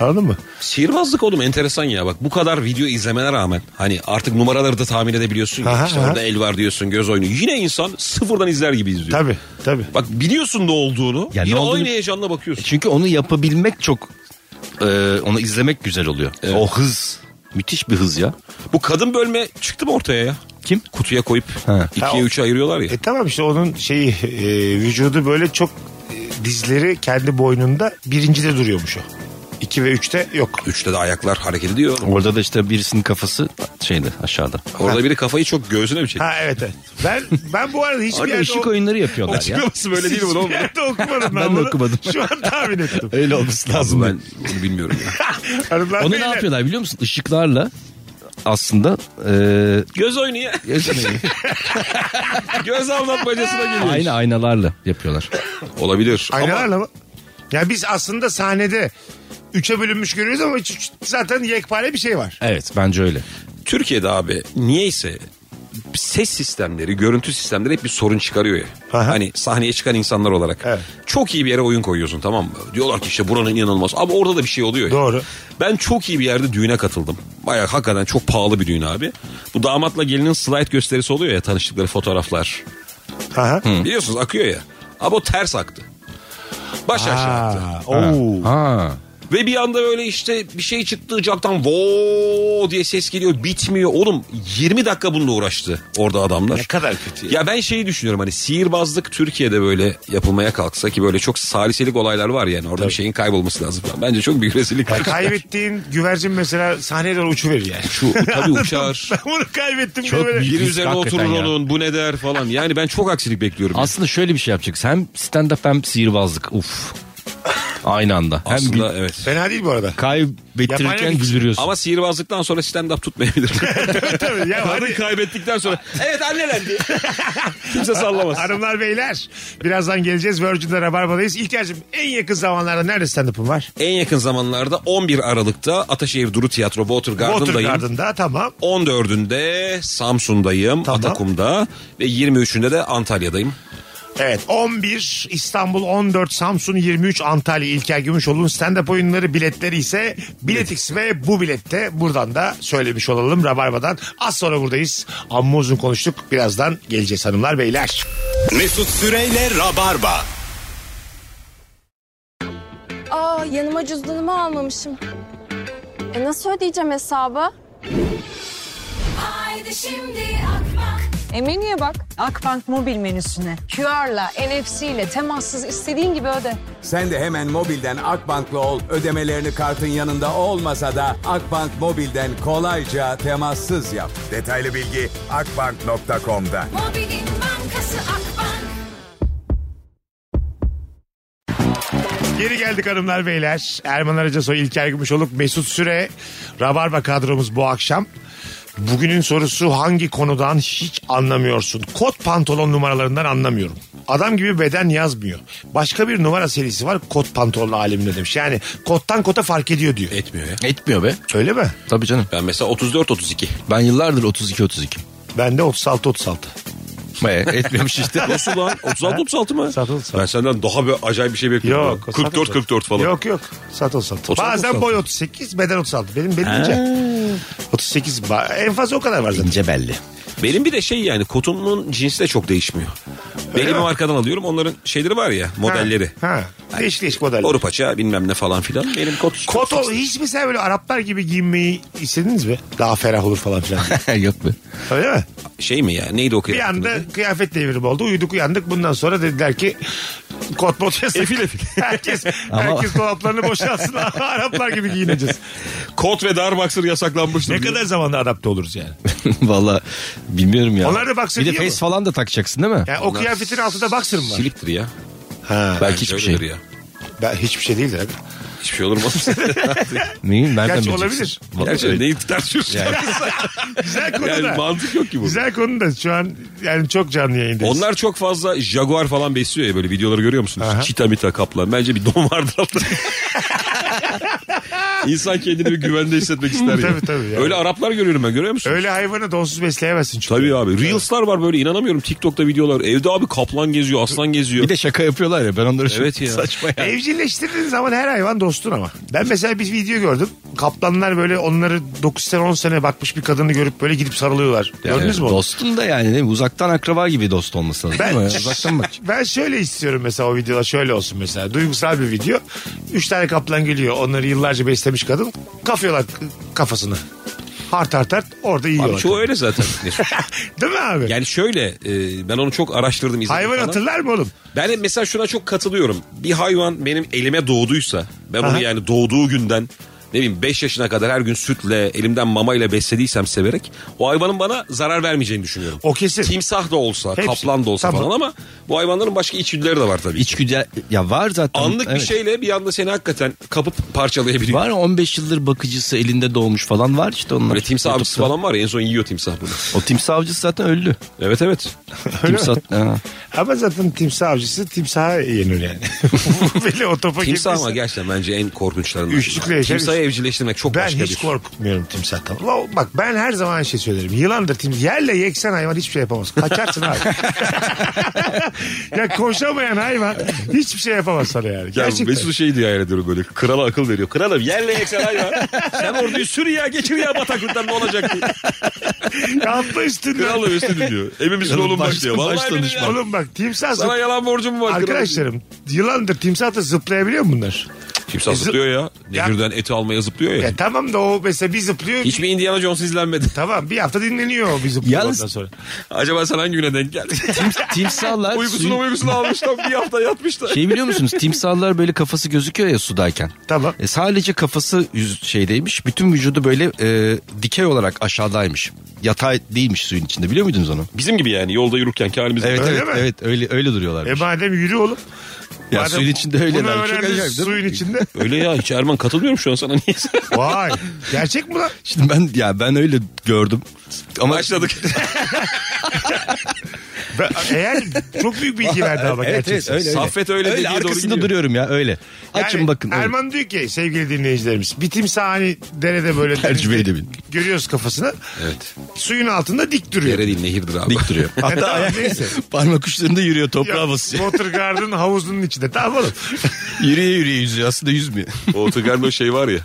Anladın mı?
Sihirbazlık oğlum enteresan ya bak bu kadar video izlemene rağmen hani artık numaraları da tahmin edebiliyorsun ya
Aha,
işte
aha.
orada el var diyorsun göz oyunu yine insan sıfırdan izler gibi izliyor.
Tabii tabii.
Bak biliyorsun ne olduğunu
Ya
yine
ne olduğunu-
aynı heyecanla bakıyorsun.
Çünkü onu yapabilmek çok e, onu izlemek güzel oluyor. O hız müthiş bir hız ya.
Bu kadın bölme çıktı mı ortaya ya?
Kim?
Kutuya koyup
Ha.
Ha, o-
ikiye üçe ayırıyorlar ya.
E tamam işte onun şeyi e, vücudu böyle çok e, dizleri kendi boynunda birincide duruyormuş o. 2 ve 3'te yok.
Üçte de ayaklar hareket ediyor.
Orada da işte birisinin kafası şeydi aşağıda.
Orada biri kafayı çok göğsüne mi çekti?
Ha evet evet. Ben ben bu arada hiçbir
Orada
yerde
ışık
o-
oyunları yapıyorlar ya.
Açıklaması böyle değil mi
hiçbir
oğlum?
yerde okumadım ben,
Ben de
bunu.
okumadım.
Şu an tahmin ettim.
Öyle olması
Abi
lazım.
ben bunu bilmiyorum ya.
Hanımlar,
Onu ne
beyler,
yapıyorlar biliyor musun? Işıklarla aslında e,
Göz oyunu ya. Göz anlatmacasına geliyor.
aynı aynalarla yapıyorlar.
Olabilir.
Aynalarla mı? Ya biz aslında sahnede üçe bölünmüş görüyoruz ama üç- üç- zaten yekpare bir şey var.
Evet bence öyle.
Türkiye'de abi niyeyse ses sistemleri, görüntü sistemleri hep bir sorun çıkarıyor ya.
Aha.
Hani sahneye çıkan insanlar olarak.
Evet.
Çok iyi bir yere oyun koyuyorsun tamam mı? Diyorlar ki işte buranın inanılmaz. Ama orada da bir şey oluyor ya.
Doğru.
Ben çok iyi bir yerde düğüne katıldım. Bayağı hakikaten çok pahalı bir düğün abi. Bu damatla gelinin slide gösterisi oluyor ya tanıştıkları fotoğraflar.
Aha.
Biliyorsunuz akıyor ya. Abi o ters aktı. Baş aşağı aktı.
Aa, oo.
Ha.
Ve bir anda böyle işte bir şey çıktı camdan voo diye ses geliyor bitmiyor. Oğlum 20 dakika bununla uğraştı orada adamlar.
Ne kadar kötü ya.
Ya ben şeyi düşünüyorum hani sihirbazlık Türkiye'de böyle yapılmaya kalksa ki böyle çok saliselik olaylar var yani orada bir şeyin kaybolması lazım. falan. Bence çok büyük rezillik.
Ya kaybettiğin güvercin mesela sahneye doğru uçuverir yani.
Şu tabii uçar.
Ben bunu kaybettim.
Çok
diye böyle.
büyük-
Biri
Risk
üzerine
hakikaten
oturur
ya.
onun bu ne der falan. Yani ben çok aksilik bekliyorum. ya.
Aslında şöyle bir şey yapacaksın. Hem stand-up hem sihirbazlık. Uf. Aynı anda. Hem
Aslında
gü-
evet.
Fena değil bu arada. Yapmaya
kaybettirirken
gitsin.
güldürüyorsun.
Ama sihirbazlıktan sonra stand-up tutmayabilir.
Tabii ya
Kadın
hadi.
kaybettikten sonra evet annelendi. Kimse sallamaz.
Hanımlar beyler birazdan geleceğiz. Virgin'de Rabarba'dayız. İlker'cim en yakın zamanlarda nerede stand-up'ın var?
En yakın zamanlarda 11 Aralık'ta Ataşehir Duru Tiyatro
Water
Watergarden'dayım.
Garden'da tamam.
14'ünde Samsun'dayım,
Tamam.
Atakum'da ve 23'ünde de Antalya'dayım.
Evet 11 İstanbul 14 Samsun 23 Antalya İlker Gümüşoğlu'nun stand-up oyunları biletleri ise Biletix ve bu bilette buradan da söylemiş olalım Rabarba'dan. Az sonra buradayız. Amma uzun konuştuk. Birazdan geleceğiz hanımlar beyler.
Mesut Süreyle Rabarba.
Aa yanıma cüzdanımı almamışım. E nasıl ödeyeceğim hesabı?
Haydi şimdi Akbank.
E menüye bak. Akbank mobil menüsüne. QR'la, NFC ile temassız istediğin gibi öde.
Sen de hemen mobilden Akbank'la ol. Ödemelerini kartın yanında olmasa da Akbank mobilden kolayca temassız yap. Detaylı bilgi akbank.com'da.
Mobilin bankası Akbank.
Geri geldik hanımlar beyler. Erman Aracasoy, İlker Gümüşoluk, Mesut Süre. Rabarba kadromuz bu akşam. Bugünün sorusu hangi konudan hiç anlamıyorsun? Kot pantolon numaralarından anlamıyorum. Adam gibi beden yazmıyor. Başka bir numara serisi var kot pantolon aleminde demiş. Yani kottan kota fark ediyor diyor. E,
Etmiyor ya.
Etmiyor be.
Öyle mi?
Tabii canım.
Ben mesela 34-32.
Ben yıllardır 32-32.
Ben de 36-36.
Be, Ee, etmiyormuş işte.
Nasıl lan? 36-36 mı?
36-36.
Ben senden daha bir acayip bir şey bekliyorum.
Yok.
44-44 falan.
Yok yok. Sat 36.
36.
Bazen boy 38 beden 36. Benim benim ince. 38 ba- en fazla o kadar var zaten.
İnce belli.
Benim bir de şey yani kotumun cinsi de çok değişmiyor. Belli bir markadan alıyorum. Onların şeyleri var ya modelleri.
Ha. ha. Değiş değiş modeller.
Boru paça bilmem ne falan filan. Benim kot...
Kot ol, hiç mi sen böyle Araplar gibi giyinmeyi istediniz mi? Daha ferah olur falan filan.
Yok be.
Öyle mi?
Şey mi ya neydi o
Bir
kıyafetin
anda
adı?
kıyafet devrimi oldu. Uyuduk uyandık. Bundan sonra dediler ki kot mot yasak.
Efil efil.
herkes, herkes dolaplarını boşaltsın. Araplar gibi giyineceğiz.
Kot ve dar boxer yasaklanmıştı.
Ne kadar zamanda adapte oluruz yani.
Valla bilmiyorum ya.
Onlar da boxer
Bir de
giyiyor
face
mu?
falan da takacaksın değil mi?
Yani o kıyafetin altında boxer mı var?
Siliptir ya.
Ha.
Belki hiçbir şey.
ya.
Ben, hiçbir şey değildir abi.
Hiçbir şey olur mu?
Neyin? Nereden
Gerçi
bileceksin?
olabilir.
Vallahi
Gerçekten neyi tartışıyorsun? Yani,
Güzel konu da.
mantık yok ki bu.
Güzel konu da şu an yani çok canlı yayındayız.
Onlar çok fazla jaguar falan besliyor ya böyle videoları görüyor musunuz? Çita mita kaplan. Bence bir don vardır altında. İnsan kendini bir güvende hissetmek ister ya.
Tabii, tabii yani.
Öyle Araplar görüyorum ben görüyor musun?
Öyle hayvanı donsuz besleyemezsin çünkü.
Tabii abi. Reels'lar var böyle inanamıyorum TikTok'ta videolar. Evde abi kaplan geziyor, aslan geziyor.
Bir de şaka yapıyorlar ya ben onları çok
Evet ya.
saçma ya.
Evcilleştirdiğin zaman her hayvan dostun ama. Ben mesela bir video gördüm. Kaplanlar böyle onları 9 sene 10 sene bakmış bir kadını görüp böyle gidip sarılıyorlar. Gördünüz mü onu?
Dostum da yani değil mi? uzaktan akraba gibi dost olması lazım
Ben-
değil mi? Uzaktan bak.
Ben şöyle istiyorum mesela o videoda şöyle olsun mesela. Duygusal bir video. 3 tane kaplan geliyor. Onları yıllarca beslemiş kadın. Kafıyorlar k- kafasını. Hart hart hart orada yiyorlar.
Abi çoğu öyle zaten. Mesut.
Değil mi abi?
yani şöyle e, ben onu çok araştırdım izledim
Hayvan
falan.
hatırlar mı oğlum?
Ben de mesela şuna çok katılıyorum. Bir hayvan benim elime doğduysa ben onu yani doğduğu günden ne bileyim 5 yaşına kadar her gün sütle elimden mamayla beslediysem severek o hayvanın bana zarar vermeyeceğini düşünüyorum.
O kesin.
Timsah da olsa
Hepsi.
kaplan da olsa
Tamam.
falan ama bu hayvanların başka içgüdüleri de var tabii.
İçgüdü ya var zaten.
Anlık
Evet.
bir şey şeyle bir anda seni hakikaten kapıp parçalayabiliyor.
Var ya, 15 yıldır bakıcısı elinde doğmuş falan var işte onlar.
Böyle timsah avcısı
YouTube'da.
falan var ya en son yiyor timsah bunu.
O timsah avcısı zaten öldü.
Evet evet.
timsah Ha.
Ama zaten timsah avcısı timsaha yenir yani. böyle o topa
Timsah ama
girmesin.
gerçekten bence en korkunçlarından.
Üçlükle yaşar,
Timsahı
üç-
evcilleştirmek çok
Ben
başka bir şey.
hiç korkutmuyorum timsahtan. La, Bak ben her zaman aynı şey söylerim. Yılandır timsah. Yerle yeksen hayvan hiçbir şey yapamaz. Kaçarsın abi. ya koşamayan hayvan hiçbir şey yapamaz sana yani.
Ya
Gerçekten.
Mesut şey diye hayal ediyorum böyle. Krala akıl veriyor. Kralım yerle yeksen hayvan. Sen orduyu sür ya geçir ya bataklıktan ne olacak diye.
Atla üstünden.
Kralım üstünü diyor. Emin misin oğlum bak diyor. Vallahi
baş
billahi
danışman.
ya.
Oğlum bak timsah zıp-
Sana yalan borcum var. kralım.
Arkadaşlarım yılandır timsah da zıplayabiliyor mu bunlar?
Kimse zıplıyor ya. Nehirden eti almaya zıplıyor ya.
E tamam da o mesela bir zıplıyor.
Hiç mi Indiana Jones izlenmedi?
Tamam bir hafta dinleniyor o bir zıplıyor ondan sonra.
Acaba sen hangi güne denk geldin?
timsahlar
Uykusunu
suyun-
uykusunu almışlar bir hafta yatmışlar.
Şey biliyor musunuz? Timsahlar böyle kafası gözüküyor ya sudayken.
Tamam.
E, sadece kafası yüz şeydeymiş. Bütün vücudu böyle e, dikey olarak aşağıdaymış. Yatay değilmiş suyun içinde. Biliyor muydunuz onu?
Bizim gibi yani yolda yürürken ki halimiz.
Evet
Öyle
evet
mi?
evet öyle öyle duruyorlar.
E madem yürü oğlum.
Ya
Madem
suyun içinde öyle
Bunu
lan, çok
öğrendin
acayip değil mi?
suyun içinde.
Öyle ya hiç Erman katılmıyorum şu an sana niye?
Vay gerçek mi lan?
Şimdi ben ya ben öyle gördüm. Ama
Başladık.
Ben- Eğer çok büyük bilgi verdi ama
Evet,
gerçekten.
evet, öyle, öyle.
Saffet öyle dediği
öyle
doğru
arkasında
gidiyor.
duruyorum ya öyle.
Yani
Açın bakın. öyle.
Erman diyor ki sevgili dinleyicilerimiz bir timsah hani derede böyle
Tercüme
denizde
edebilin.
görüyoruz kafasını.
Evet.
Suyun altında dik duruyor.
Yere değil nehirdir abi.
Dik duruyor.
E,
Hatta
tamam,
ayak-
neyse.
parmak uçlarında yürüyor toprağa
Yok,
basıyor.
Watergarden havuzunun içinde. Tamam oğlum.
yürüye yürüye yüzüyor aslında yüzmüyor.
O Otogar'da o şey var ya.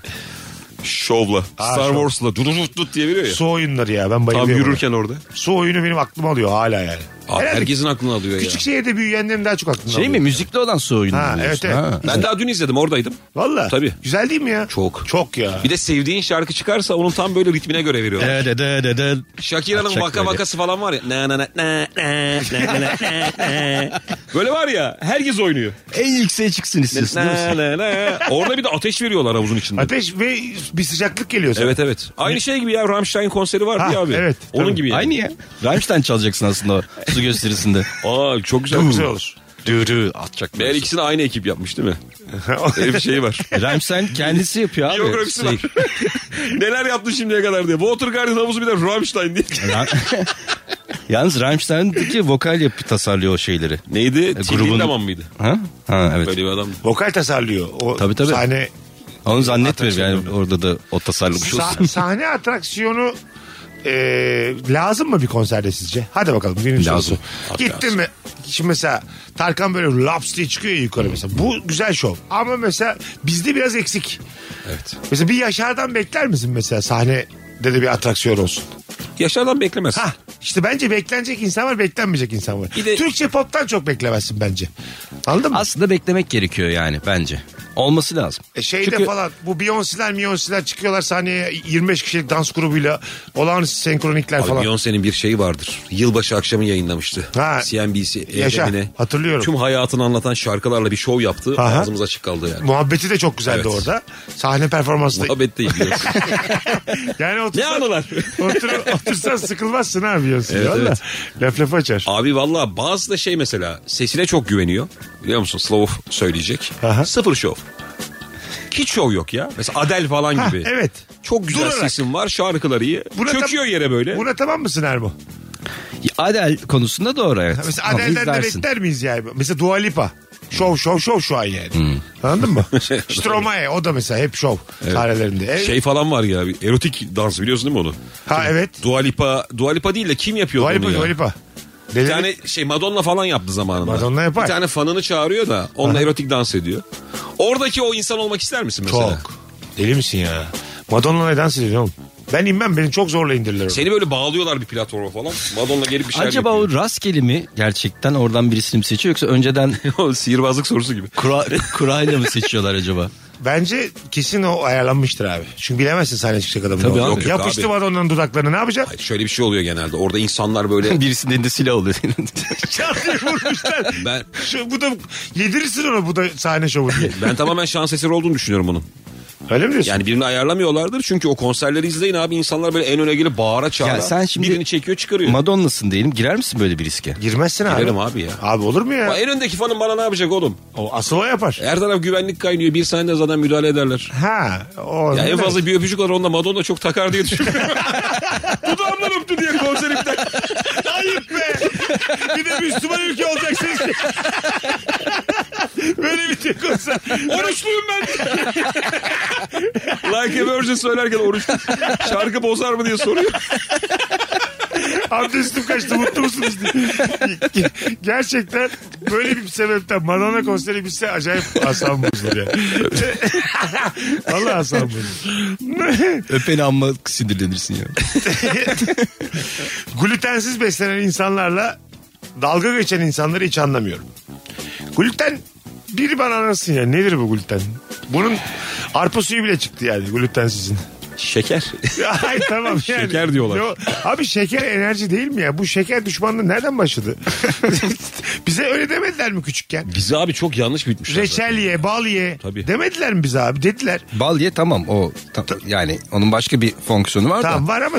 Şovla. Star
şov.
Wars'la. Dut dut dut diye veriyor ya.
Su oyunları ya ben bayılıyorum.
Tam
ona.
yürürken orada.
Su oyunu benim aklım alıyor hala yani.
Abi,
Herhalde
herkesin aklını alıyor
Küçük şey-
ya.
şehirde büyüyenlerin daha çok aklını
Şey
alıyor.
mi müzikli olan su oyunu
Ha,
mu diyorsun?
evet, evet.
Ha.
Ben daha dün izledim oradaydım.
Valla.
Tabii.
Güzel değil mi ya?
Çok.
Çok ya.
Bir de sevdiğin şarkı çıkarsa onun tam böyle ritmine göre veriyorlar.
De de de de de.
Shakira'nın
Açacak
vaka
böyle.
vakası falan var ya. Na na na na na na na na na. Böyle var ya herkes oynuyor.
En yükseğe çıksın istiyorsun değil
Na
mi?
na na. Orada bir de ateş veriyorlar havuzun içinde.
Ateş ve bir sıcaklık geliyor sana.
Evet evet. Aynı şey gibi ya Rammstein konseri var
Ha,
ya abi.
evet,
Onun
tabii.
gibi. yani.
Aynı ya. Rammstein çalacaksın aslında o su gösterisinde.
Aa çok güzel.
Çok güzel olur.
Dürü atacak.
Meğer ikisini aynı ekip yapmış değil mi? Öyle bir şey var.
Rammstein kendisi yapıyor abi.
Biyografisi var.
Şey,
Neler yaptı şimdiye kadar diye. Watergarden havuzu bir de Rammstein diye.
Ra- Yalnız Rammstein'deki vokal yapı tasarlıyor o şeyleri.
Neydi? E,
grubun-
mıydı?
Ha? Ha evet.
Böyle bir adam.
Vokal tasarlıyor. O
Tabii, tabii.
Sahne,
Onu zannetmiyorum yani
Atraksiyonu.
orada da o tasarlamış
Sa-
olsun.
sahne atraksiyonu e, lazım mı bir konserde sizce? Hadi bakalım. Günün
Lazım.
sorusu. Gittin mi? Şimdi mesela Tarkan böyle laps diye çıkıyor ya yukarı mesela. Bu güzel şov. Ama mesela bizde biraz eksik.
Evet.
Mesela bir Yaşar'dan bekler misin mesela sahnede de bir atraksiyon olsun?
Yaşar'dan beklemez.
Ha işte bence beklenecek insan var beklenmeyecek insan var.
Bir de-
Türkçe pop'tan çok beklemezsin bence. Anladın mı?
Aslında beklemek gerekiyor yani bence. Olması lazım.
E şeyde
Çünkü-
falan bu Beyoncé'ler Beyoncé'ler çıkıyorlar sahneye 25 kişilik dans grubuyla olağanüstü senkronikler
Abi
falan.
Beyoncé'nin bir şeyi vardır. Yılbaşı akşamı yayınlamıştı.
Ha.
CNBC.
Yaşa,
evine.
hatırlıyorum.
E. Tüm hayatını anlatan şarkılarla bir şov yaptı.
Aha.
Ağzımız açık kaldı yani.
Muhabbeti de çok güzeldi
Evet.
orada. Sahne performansı da.
Muhabbet değil biliyorsun.
Yani
ne
otursan,
anılar?
otur, otursan sıkılmazsın ha Beyoncé.
Evet,
Valla.
evet.
Laf lafı açar.
Abi valla bazı da şey mesela sesine çok güveniyor. Biliyor musun? Slow söyleyecek.
Aha.
Sıfır şov. Hiç şov yok ya. Mesela Adele falan
Ha,
gibi.
evet.
Çok güzel
Durarak.
sesin var şarkıları iyi.
Buna tam-
Çöküyor yere böyle.
Buna tamam mısın Ermo?
Adel konusunda doğru evet.
Mesela
Ama
Adele'den de
izlersin.
bekler miyiz yani? Mesela Dua Lipa. Şov
Hmm.
şov şov şu an yani. Anladın mı? Stromae o da mesela hep şov sahnelerinde. E,
Şey falan var ya bir erotik dans biliyorsun değil mi onu?
ha evet.
Dua Lipa, Dua Lipa değil de kim yapıyor
Dua
onu
Lipa
ya?
Dua Lipa.
Bir
Deli-
tane şey Madonna falan yaptı zamanında.
Madonna yapar.
Bir tane fanını çağırıyor da onunla erotik dans ediyor. Oradaki o insan olmak ister misin mesela?
Çok. Deli misin ya? Madonna neden siliyor oğlum? Ben inmem beni çok zorla indirirler. orada.
Seni böyle bağlıyorlar bir platforma falan. Madonna gelip bir şeyler
Acaba
yapıyor.
o rastgele mi gerçekten oradan birisini mi seçiyor yoksa önceden
o sihirbazlık sorusu gibi.
kura, kurayla mı seçiyorlar acaba?
Bence kesin o ayarlanmıştır abi. Çünkü bilemezsin sahne çıkacak adamın.
Tabii
ne
abi.
olduğunu.
Yok,
yok
Yapıştı
abi.
Madonna'nın dudaklarına ne yapacak?
Hayır, şöyle bir şey oluyor genelde. Orada insanlar böyle
Birisinin elinde silah oluyor.
Çarpıyor vurmuşlar.
ben
Şu, bu da yedirirsin ona bu da sahne şovu diye.
ben tamamen şans eseri olduğunu düşünüyorum bunun.
Öyle mi diyorsun?
Yani birini ayarlamıyorlardır çünkü o konserleri izleyin abi insanlar böyle en öne gelip bağıra çağıra.
Ya sen şimdi-
birini çekiyor çıkarıyor.
Madonna'sın diyelim girer misin böyle bir riske?
Girmezsin abi.
Girerim abi ya.
Abi olur mu ya?
Bak en öndeki fanın bana ne yapacak oğlum?
O asıl o yapar.
Her taraf güvenlik kaynıyor. Bir saniye zaten müdahale ederler.
Ha. O
Ya en fazla bir öpücük alır onda Madonna çok takar diye düşünüyorum. Dudağımdan öptü diye konser iptal.
Ayıp be. Bir de Müslüman ülke olacaksınız. Böyle bir tek olsa.
Oruçluyum ben. like a virgin söylerken oruçlu. Şarkı bozar mı diye soruyor.
Abdestim kaçtı mutlu musunuz diye. Gerçekten böyle bir sebepten Madonna konseri bitse acayip asam bozulur ya. Valla asam bozulur.
Öpeni amma sinirlenirsin ya.
Glutensiz beslenen insanlarla dalga geçen insanları hiç anlamıyorum. Gluten biri bana anlatsın ya nedir bu gluten? Bunun arpa suyu bile çıktı yani glutensizin.
Şeker.
Ay tamam yani.
Şeker diyorlar.
Yo, abi şeker enerji değil mi ya? Bu şeker düşmanlığı nereden başladı? bize öyle demediler mi küçükken?
Bizi abi çok yanlış bitmişler.
Reçel ye, bal ye. Demediler mi bize abi? Dediler.
Bal ye tamam o tam- yani onun başka bir fonksiyonu var
Tamam
da.
var ama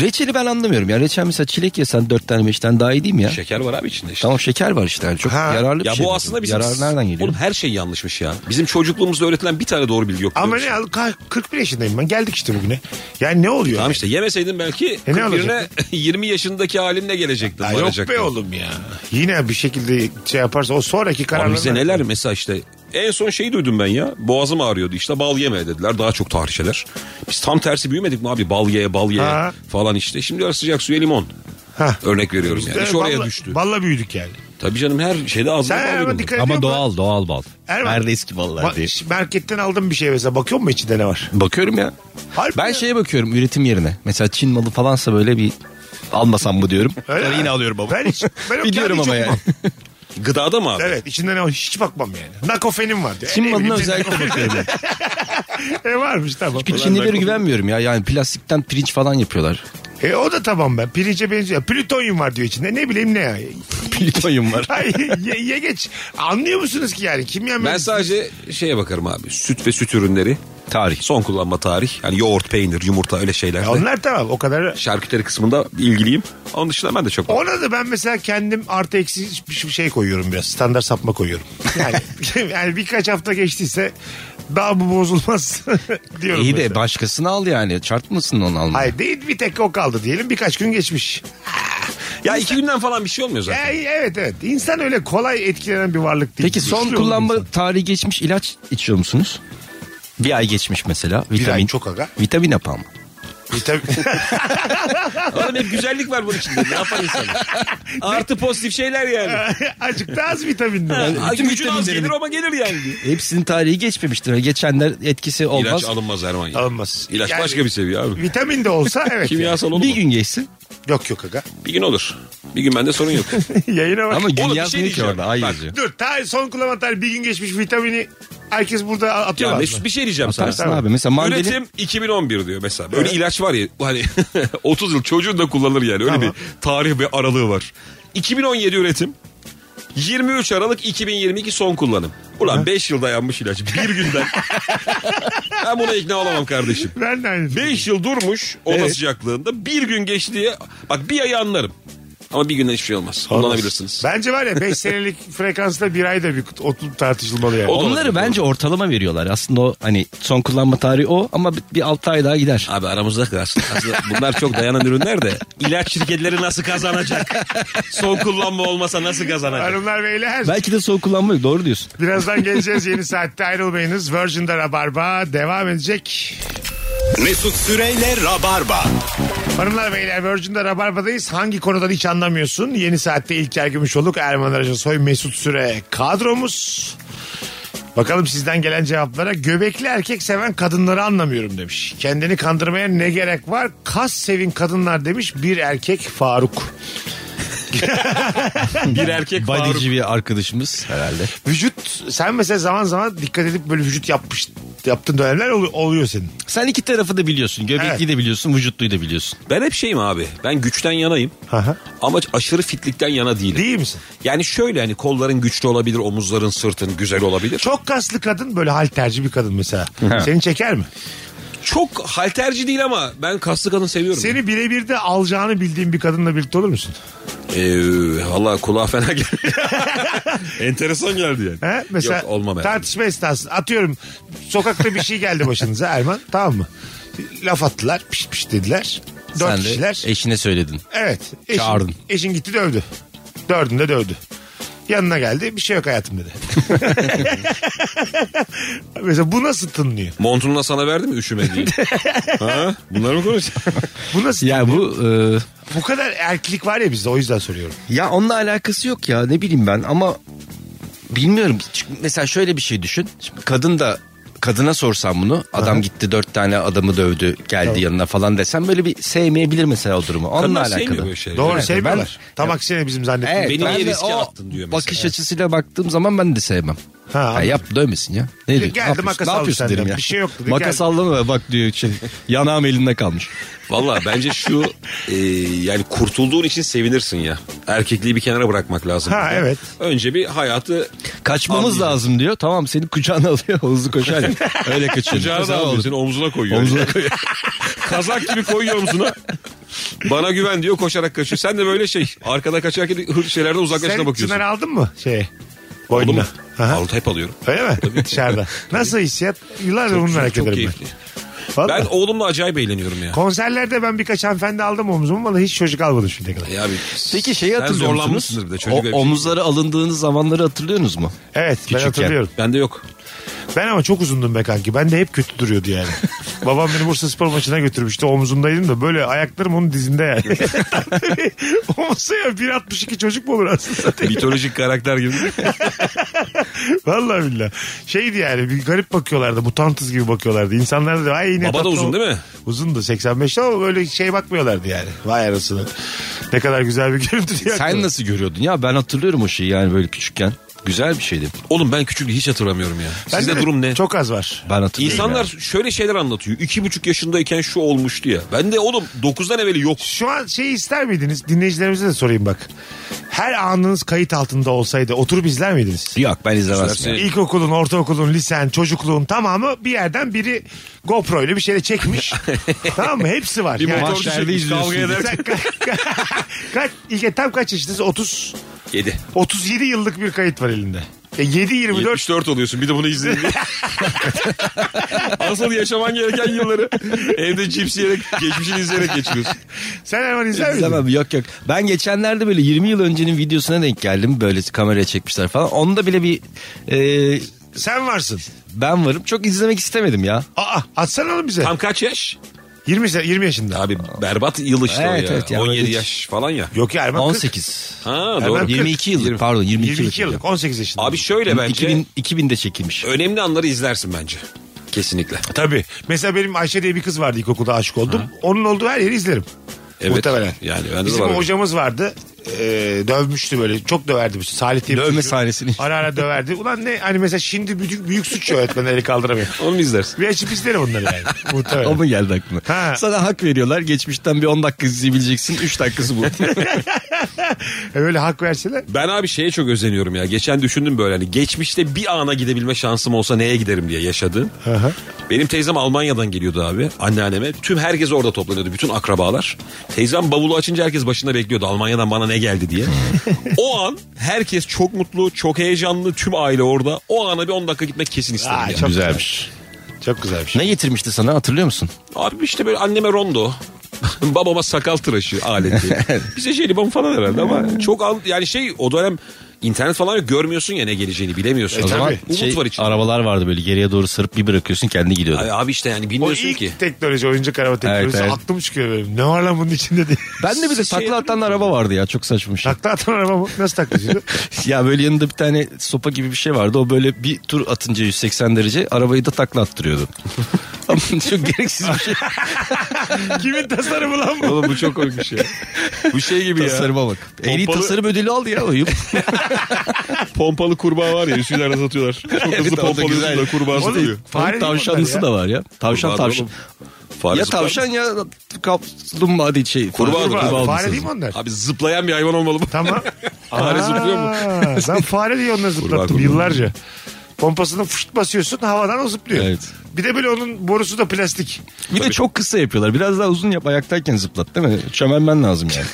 Reçeli ben anlamıyorum ya. Reçel mesela çilek yesen dört tane beşten daha iyi değil mi ya?
Şeker var abi içinde işte.
Tamam şeker var işte. yani Çok yararlı bir
ya
şey.
bu aslında bizim...
Yarar nereden geliyor?
Oğlum her şey yanlışmış ya. Bizim çocukluğumuzda öğretilen bir tane doğru bilgi yok.
ama
biliyor
ne al- ka- 41 yaşındayım ben. Geldik işte bugüne. Yani ne oluyor?
Tamam işte yemeseydin belki
E ne
41'ine
olacaktı?
20 yaşındaki halinle gelecektin.
Ya yok
varacaktın.
be oğlum ya. Yine bir şekilde şey yaparsa o sonraki
Abi
kararlar.
bize neler mesela işte en son şeyi duydum ben ya. Boğazım ağrıyordu işte bal yeme dediler. Daha çok tahrişeler. Biz tam tersi büyümedik mi abi? Bal ye, bal ye
Ha.
falan işte. Şimdi sıcak suya limon.
Ha.
Örnek veriyorum yani. İş oraya
balla,
düştü.
Balla büyüdük yani.
Tabii canım her şeyde ağzına
Sen
bal
ama
verin.
dikkat ediyor musun?
doğal bal.
Şey Erman.
Nerede eski ballar
Bak,
diye.
ş- marketten aldım bir şey mesela. Bakıyor musun içinde ne var?
Bakıyorum ya.
Harbi
ben şeye bakıyorum üretim yerine. Mesela Çin malı falansa böyle bir almasam mı diyorum.
Öyle
Yani
mi?
yine alıyorum ama.
Ben hiç- ben o
Biliyorum
kağıdı
ama
hiç
yani.
Gıdada mı abi?
Evet içinde ne var hiç bakmam yani. Nakofenim var diyor.
Çin
E, ne
malına
bileyim,
özellikle bakıyorum. ben.
E varmış tamam.
Çünkü
Ulan
Çinlilere
nakofenim.
güvenmiyorum ya. Yani plastikten pirinç falan yapıyorlar.
E o da tamam ben. Pirince benziyor. Plütonyum var diyor içinde. Ne bileyim ne ya.
Plütonyum var.
Ay, ye, ye geç. Anlıyor musunuz ki yani? Kimya
Ben
mühendisi-
sadece şeye bakarım abi. Süt ve süt ürünleri. Tarih. Son kullanma tarih. Yani yoğurt, peynir, yumurta öyle şeyler.
Ya Onlar tamam o kadar.
Şarküteri kısmında ilgiliyim. Onun dışında ben de çok...
Ona da ben mesela kendim artı eksi bir şey koyuyorum biraz. Standart sapma koyuyorum. Yani, yani birkaç hafta geçtiyse daha bu bozulmaz diyorum.
İyi de
mesela.
başkasını al yani. Şart mısın onu almaya?
Hayır değil bir tek o kaldı diyelim birkaç gün geçmiş.
Ya iki günden falan bir şey olmuyor zaten.
E, evet evet insan öyle kolay etkilenen bir varlık değil.
Peki son
Güçlü olur
kullanma
insan.
tarihi geçmiş ilaç içiyor musunuz? Bir ay geçmiş mesela. Vitamin,
ay çok aga.
Vitamin apa mı?
E, Vitamin-
Oğlum hep güzellik var bunun içinde. Ne yapar insan? Artı pozitif şeyler yani.
Azıcık da az vitaminli. var.
Ay,
bütün
Gücün az
vitaminlerini-
gelir ama gelir yani.
Hepsinin tarihi geçmemiştir. Geçenler etkisi olmaz.
İlaç alınmaz Erman ya.
Alınmaz.
İlaç
Yani-
başka bir şey. seviye abi.
Vitamin de olsa evet.
Kimyasal olur
bir
mu?
gün geçsin.
Yok yok aga.
Bir gün olur. Bir gün bende sorun yok.
Yayına bak.
Ama gün
Oğlum bir şey
yazmıyor ki
diyeceğim.
orada. Ay
Bak,
yazıyor.
Dur ta son kullanma tarihi bir gün geçmiş vitamini herkes burada atıyor.
ya
ağzına.
Mesut bir şey diyeceğim sana.
Atarsın abi. Mesela mandalina.
Üretim 2011 diyor mesela. Böyle ilaç var ya hani 30 yıl çocuğun da kullanılır yani. Öyle bir tarih ve aralığı var. 2017 üretim. 23 Aralık 2022 son kullanım. Ulan 5 yıl dayanmış ilaç. Bir günden. ben buna ikna olamam kardeşim.
Ben de aynı.
5 yıl durmuş oda sıcaklığında. Bir gün geçti diye. Bak bir ayı anlarım. Ama bir günden hiçbir şey olmaz. Kullanabilirsiniz.
Bence var ya 5 senelik frekansta bir ayda bir oturup tartışılmalı yani.
O- da
Onları
olabilir,
bence ortalama veriyorlar. Aslında o hani son kullanma tarihi o ama bir- bir 6 ay daha gider.
Abi aramızda kalsın. Aslında bunlar çok dayanan ürünler de. ilaç şirketleri nasıl kazanacak? Son kullanma olmasa nasıl kazanacak?
Hanımlar beyler
Belki de son kullanma yok. Doğru diyorsun.
birazdan geleceğiz yeni saatte ayrılmayınız. Virgin'de Rabarba devam edecek.
Mesut Süreyle Rabarba.
Hanımlar beyler Virgin'de Rabarba'dayız. Hangi konudan hiç anlamıyorsun? Yeni saatte İlker Gümüşoluk, Erman Aracı Soy, Mesut Süre kadromuz. Bakalım sizden gelen cevaplara göbekli erkek seven kadınları anlamıyorum demiş. Kendini kandırmaya ne gerek var? Kas sevin kadınlar demiş bir erkek Faruk.
Bir erkek Faruk.
Bodyci bir arkadaşımız herhalde.
Vücut sen mesela zaman zaman dikkat edip böyle vücut yapmış yaptığın dönemler ol- oluyor senin.
Sen iki tarafı da biliyorsun. Göbekli
Evet.
de biliyorsun, vücutluyu da biliyorsun.
Ben hep şeyim abi. Ben güçten yanayım.
Aha.
Ama aşırı fitlikten yana değilim.
Değil misin?
Yani şöyle hani kolların güçlü olabilir, omuzların, sırtın güzel olabilir. Çok,
Çok kaslı kadın böyle halterci bir kadın mesela. Seni çeker mi?
çok halterci değil ama ben kaslı kadın seviyorum.
Seni birebir de alacağını bildiğin bir kadınla birlikte olur musun?
Ee, Valla kulağa fena geldi. Enteresan geldi yani.
He? Mesela
Yok olmam herhalde.
tartışma esnasında atıyorum sokakta bir şey geldi başınıza Erman tamam mı? Laf attılar piş piş dediler. Dört
Sen
kişiler.
de eşine söyledin.
evet. Eşin,
Çağırdın.
Eşin gitti dövdü. Dördünü de dövdü. Yanına geldi bir şey yok hayatım dedi. Mesela bu nasıl tınlıyor?
Montunu da sana verdi mi üşüme diye. ha? Bunları mı konuşuyorsun?
Bu nasıl
Ya bu e,
Bu kadar erklik var ya bizde o yüzden soruyorum.
Ya onunla alakası yok ya ne bileyim ben ama bilmiyorum. Çünkü Mesela şöyle bir şey düşün. Şimdi kadın da kadına sorsam bunu adam gitti dört tane adamı dövdü geldi yanına falan desem böyle bir sevmeyebilir mesela o durumu. Onunla
Kadınlar sevmiyor
alakalı.
böyle şeyleri.
Doğru
Evet,
sevmiyorlar.
ben-
Tam aksine bizim zannettiğimiz.
Beni
ben
niye
de
riske
o
attın diyor mesela.
Bakış açısıyla baktığım zaman ben de sevmem. Ha, yap dövmesin ya. Ne diyor?
Geldim,
Ne yapıyorsun?
makas
ne
aldım
yapıyorsun
senden.
derim ya.
Bir şey yoktu,
Makas
geldim.
aldım ve bak diyor şey, yanağım elinde kalmış.
Valla bence şu e, yani kurtulduğun için sevinirsin ya. Erkekliği bir kenara bırakmak lazım.
Ha,
burada.
evet.
Önce bir hayatı
Kaçmamız lazım diyor. Tamam seni kucağına alıyor hızlı koşar. ya. Öyle kaçıyor.
Kucağına da
Mesela
alıyor
olur.
seni omzuna koyuyor.
Omzuna
koyuyor. Kazak gibi koyuyor omzuna. Bana güven diyor koşarak kaçıyor. Sen de böyle şey arkada kaçarken hır şeylerden uzaklaşına
Sen
bakıyorsun.
çınar aldın mı şey? Boynuna.
Aldı hep alıyorum.
Öyle mi? Dışarıda. Nasıl hissiyat? Yıllardır bunu merak
Çok
ederim
keyifli.
ben. Vallahi.
Ben oğlumla acayip eğleniyorum ya.
Konserlerde ben birkaç hanımefendi aldım omzuma. Valla hiç çocuk almadım şimdiye kadar.
Ya bir,
Peki şeyi hatırlıyor musunuz?
zorlanmışsındır bir de, çocuk
O,
öyle bir şey.
omuzları alındığınız zamanları hatırlıyorsunuz mu?
Evet ben
Küçükken.
hatırlıyorum.
Bende yok.
Ben ama çok uzundum be kanki. Ben de hep kötü duruyordu yani. Babam beni Bursa Spor maçına götürmüştü. Omzumdaydım da böyle ayaklarım onun dizinde yani. Omuzda ya 1.62 çocuk mu olur aslında?
Mitolojik karakter gibi.
Vallahi billahi. Şeydi yani bir garip bakıyorlardı. Mutantız gibi bakıyorlardı. İnsanlar da ay ne
Baba da
tatlı
uzun
o."
değil mi?
Uzundu 85'te ama böyle şey bakmıyorlardı yani. Vay arasını. Ne kadar güzel bir görüntü. diye
Sen
aklıma.
nasıl görüyordun? Ya ben hatırlıyorum o şeyi yani böyle küçükken. Güzel bir şeydi.
Oğlum ben küçüklüğü hiç hatırlamıyorum ya.
Ben
Sizde
de
durum ne?
Çok az var.
Ben hatırlıyorum.
İnsanlar
yani.
şöyle şeyler anlatıyor. İki buçuk yaşındayken şu olmuştu ya. Ben de oğlum dokuzdan evveli yok.
Şu an şey ister miydiniz? Dinleyicilerimize de sorayım bak. Her anınız kayıt altında olsaydı oturup izler miydiniz?
Yok ben izlemezdim.
İstersen-
İlkokulun, ortaokulun, lisen, çocukluğun tamamı bir yerden biri GoPro ile bir şeyle çekmiş. tamam mı? Hepsi var.
Bir
Yani-
motorcu çekmiş kavga ederken.
Sen ka- kaç, İlker tam kaç yaşındasın? 30,
Yedi.
37 yıllık bir kayıt var elinde. E 7-24
74 oluyorsun bir de bunu izleyin diye. Asıl yaşaman gereken yılları evde cips yiyerek geçmişini izleyerek geçiriyorsun.
sen hemen izler miydin?
İzlemem yok yok. Ben geçenlerde böyle 20 yıl öncenin videosuna denk geldim. Böyle kameraya çekmişler falan. Onda bile bir e,
Sen varsın.
ben varım. Çok izlemek istemedim ya.
Aa atsana oğlum bize.
Tam kaç yaş?
20, se- 20 yaşında.
Abi berbat yıl işte
Evet,
o ya.
evet ya.
17
Hiç-
yaş falan ya.
Yok ya Erman 18.
18.
Ha
Hemen
doğru.
22 yıllık pardon 22,
22 yıllık 18 yaşında.
Abi şöyle bence
2000, 2000'de çekilmiş.
önemli anları izlersin bence. Kesinlikle.
Tabii. Mesela benim Ayşe diye bir kız vardı ilkokulda aşık oldum. Onun olduğu her yeri izlerim.
Evet.
Muhtemelen.
Yani bende de
Bizim
var öyle.
hocamız vardı. Ee, dövmüştü böyle. Çok döverdi. bizi. Salih diye bir
Dövme
çocuğu.
sahnesini.
Ara ara döverdi. Ulan ne hani mesela şimdi büyük, büyük suç ya öğretmen eli kaldıramıyor.
Onu mu izlersin?
Bir açıp izlerim onları yani.
O
Muhtemelen.
mu geldi aklına?
Ha.
Sana hak veriyorlar. Geçmişten bir 10 dakika izleyebileceksin. 3 dakikası bu.
E, Böyle hak verseler.
Ben abi şeye çok özeniyorum ya. Geçen düşündüm böyle hani geçmişte bir ana gidebilme şansım olsa neye giderim diye yaşadığım. Benim teyzem Almanya'dan geliyordu abi anneanneme. Tüm herkes orada toplanıyordu bütün akrabalar. Teyzem bavulu açınca herkes başında bekliyordu Almanya'dan bana ne geldi diye. o an herkes çok mutlu, çok heyecanlı tüm aile orada. O ana bir 10 dakika gitmek kesin isterim
Aa,
ya.
çok
Güzelmiş.
Çok güzelmiş.
ne getirmişti sana hatırlıyor musun?
Abi işte böyle anneme rondo. Babama sakal tıraşı aleti. Bize jelibon falan herhalde ama çok al, yani şey o dönem internet falan yok görmüyorsun ya ne geleceğini bilemiyorsun.
E,
o zaman
tabii.
umut
şey,
var içinde.
Arabalar vardı böyle geriye doğru sarıp bir bırakıyorsun kendi gidiyordu.
Ay abi işte yani
O
bilmiyorsun
ilk
ki.
teknoloji oyuncak araba teknolojisi
evet.
aklım çıkıyor benim. Ne var lan bunun içinde diye.
Ben de bir
şey
de takla atan araba vardı ya çok saçma bir şey.
Takla atan araba mı? Nasıl taklasıydı?
Ya böyle yanında bir tane sopa gibi bir şey vardı. O böyle bir tur atınca 180 derece arabayı da takla attırıyordu. Ama çok gereksiz bir şey.
Kimin tasarımı lan bu?
Oğlum bu çok komik bir şey. Bu şey gibi ya.
Tasarıma bak. En iyi
Pompalı-
tasarım ödülü aldı ya oyun.
Pompalı kurbağa var ya üstülerden satıyorlar. Çok hızlı pompalıyorsun da kurbağa
Oğlum,
satıyor.
fare
Fare
değil mi onlar
tavşanlısı
ya?
da var ya. Tavşan
Kurbağa da
tavşan.
oğlum. Fare
ya
zıplar mı?
tavşan ya kaplumbağa hadi şey.
Kurbağa da-
Kurbağa,
olması
fare
lazım.
değil mi onlar?
Abi zıplayan bir hayvan olmalı mı?
Tamam.
Fare zıplıyor mu?
Aa, Ben fare diye onları
Kurbağa,
zıplattım
kurbağa.
yıllarca. Pompasını fışt basıyorsun havadan o zıplıyor.
Evet.
Bir de böyle onun borusu da plastik.
Bir de çok kısa yapıyorlar. Biraz daha uzun yap ayaktayken zıplat değil mi? Çömelmen lazım yani.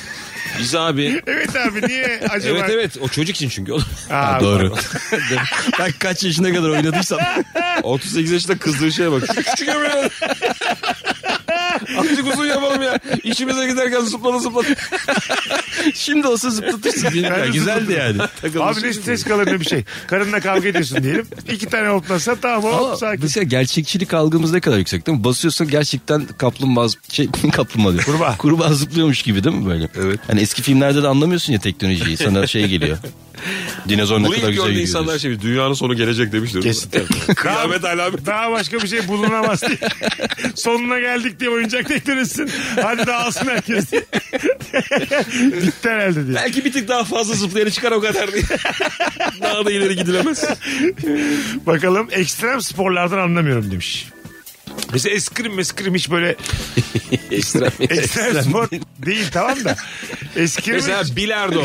Biz abi.
Evet abi niye acaba?
evet evet o çocuk için çünkü oğlum.
Aa,
Doğru. Bak kaç yaşına kadar oynadıysam.
38 yaşında kızdığı şeye bak. Şu küçük ömrü. Azıcık uzun yapalım ya. İşimize giderken zıplata zıplata.
Şimdi olsa zıplatırsın. Ya, güzeldi yani.
Abi ne stres kalır ne bir şey. Karınla kavga ediyorsun diyelim. İki tane hoplasa tamam hop
Ama
sakin.
mesela gerçekçilik algımız ne kadar yüksek değil mi? Basıyorsun gerçekten kaplumbağa zıp- şey, kaplumbağa diyor.
Kurbağa.
zıplıyormuş gibi değil mi böyle? Evet. Hani eski filmlerde de anlamıyorsun ya teknolojiyi. Sana şey geliyor. Dinozor ne
Bunu
kadar
ilk
güzel
gördüğü
yürüyor.
insanlar şey bilir, dünyanın sonu gelecek demiştir. Kesinlikle. Kıyamet alamet.
Daha başka bir şey bulunamaz diye. Sonuna geldik diye oyuncak teknolojisin. Hadi dağılsın herkes diye. Bitti herhalde diye.
Belki bir tık daha fazla zıplayanı çıkar o kadar diye. daha da ileri gidilemez.
Bakalım ekstrem sporlardan anlamıyorum demiş. Mesela eskrim meskrim hiç böyle
Ekstrem.
ekstrem spor değil tamam da. Eskrim
Mesela bilardo.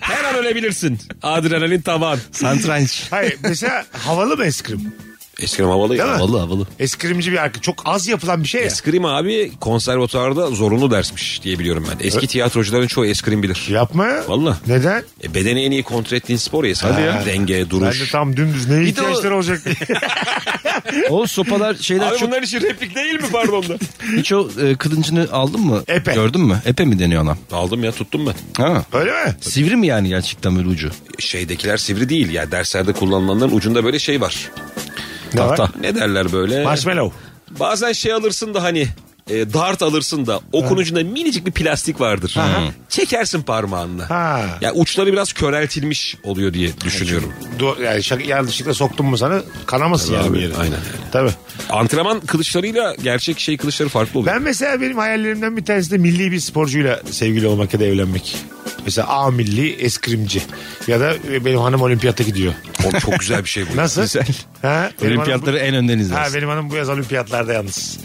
Her an ölebilirsin. Adrenalin tavan.
Santranç.
Hayır mesela havalı mı eskrim?
Eskrim havalı
Değil mi?
ya.
Havalı havalı.
Eskrimci bir arka. Çok az yapılan bir şey ya.
Eskrim abi konservatuvarda zorunlu dersmiş diye biliyorum ben. Eski tiyatrocuların çoğu eskrim bilir.
Yapma ya.
Valla.
Neden?
E, bedeni en iyi kontrol ettiğin spor ya.
Hadi
Hadi
ya.
Denge,
Ben de
duruş.
tam dümdüz neye
de
ihtiyaçları
o-
olacak diye.
O sopalar şeyler
Abi
çok...
bunlar için replik değil mi pardon da?
Hiç o e, kılıncını aldın mı?
Epe.
Gördün mü? Epe mi deniyor ona?
Aldım ya tuttum ben.
Ha.
Öyle mi?
Sivri mi yani gerçekten böyle ucu?
Şeydekiler sivri değil ya. Derslerde kullanılanların ucunda böyle şey var.
Ne var?
Tahta.
Ne derler böyle?
Marshmallow.
Bazen şey alırsın da hani e, dart alırsın da okun ucunda minicik bir plastik vardır. Çekersin parmağınla.
Ha.
Ya uçları biraz köreltilmiş oluyor diye düşünüyorum.
Do- yani şak- yanlışlıkla soktum mu sana kanamasın
Tabii
yani
abi,
bir yere.
aynen.
Tabii.
Antrenman kılıçlarıyla gerçek şey kılıçları farklı oluyor.
Ben mesela benim hayallerimden bir tanesi de milli bir sporcuyla sevgili olmak ya da evlenmek. Mesela A milli eskrimci. Ya da e, benim hanım olimpiyata gidiyor.
Oğlum çok güzel bir şey bu.
Nasıl?
Güzel.
Ha, benim
Olimpiyatları
hanım
en önden
bu- Ha
izlersin.
benim hanım bu yaz olimpiyatlarda yalnız.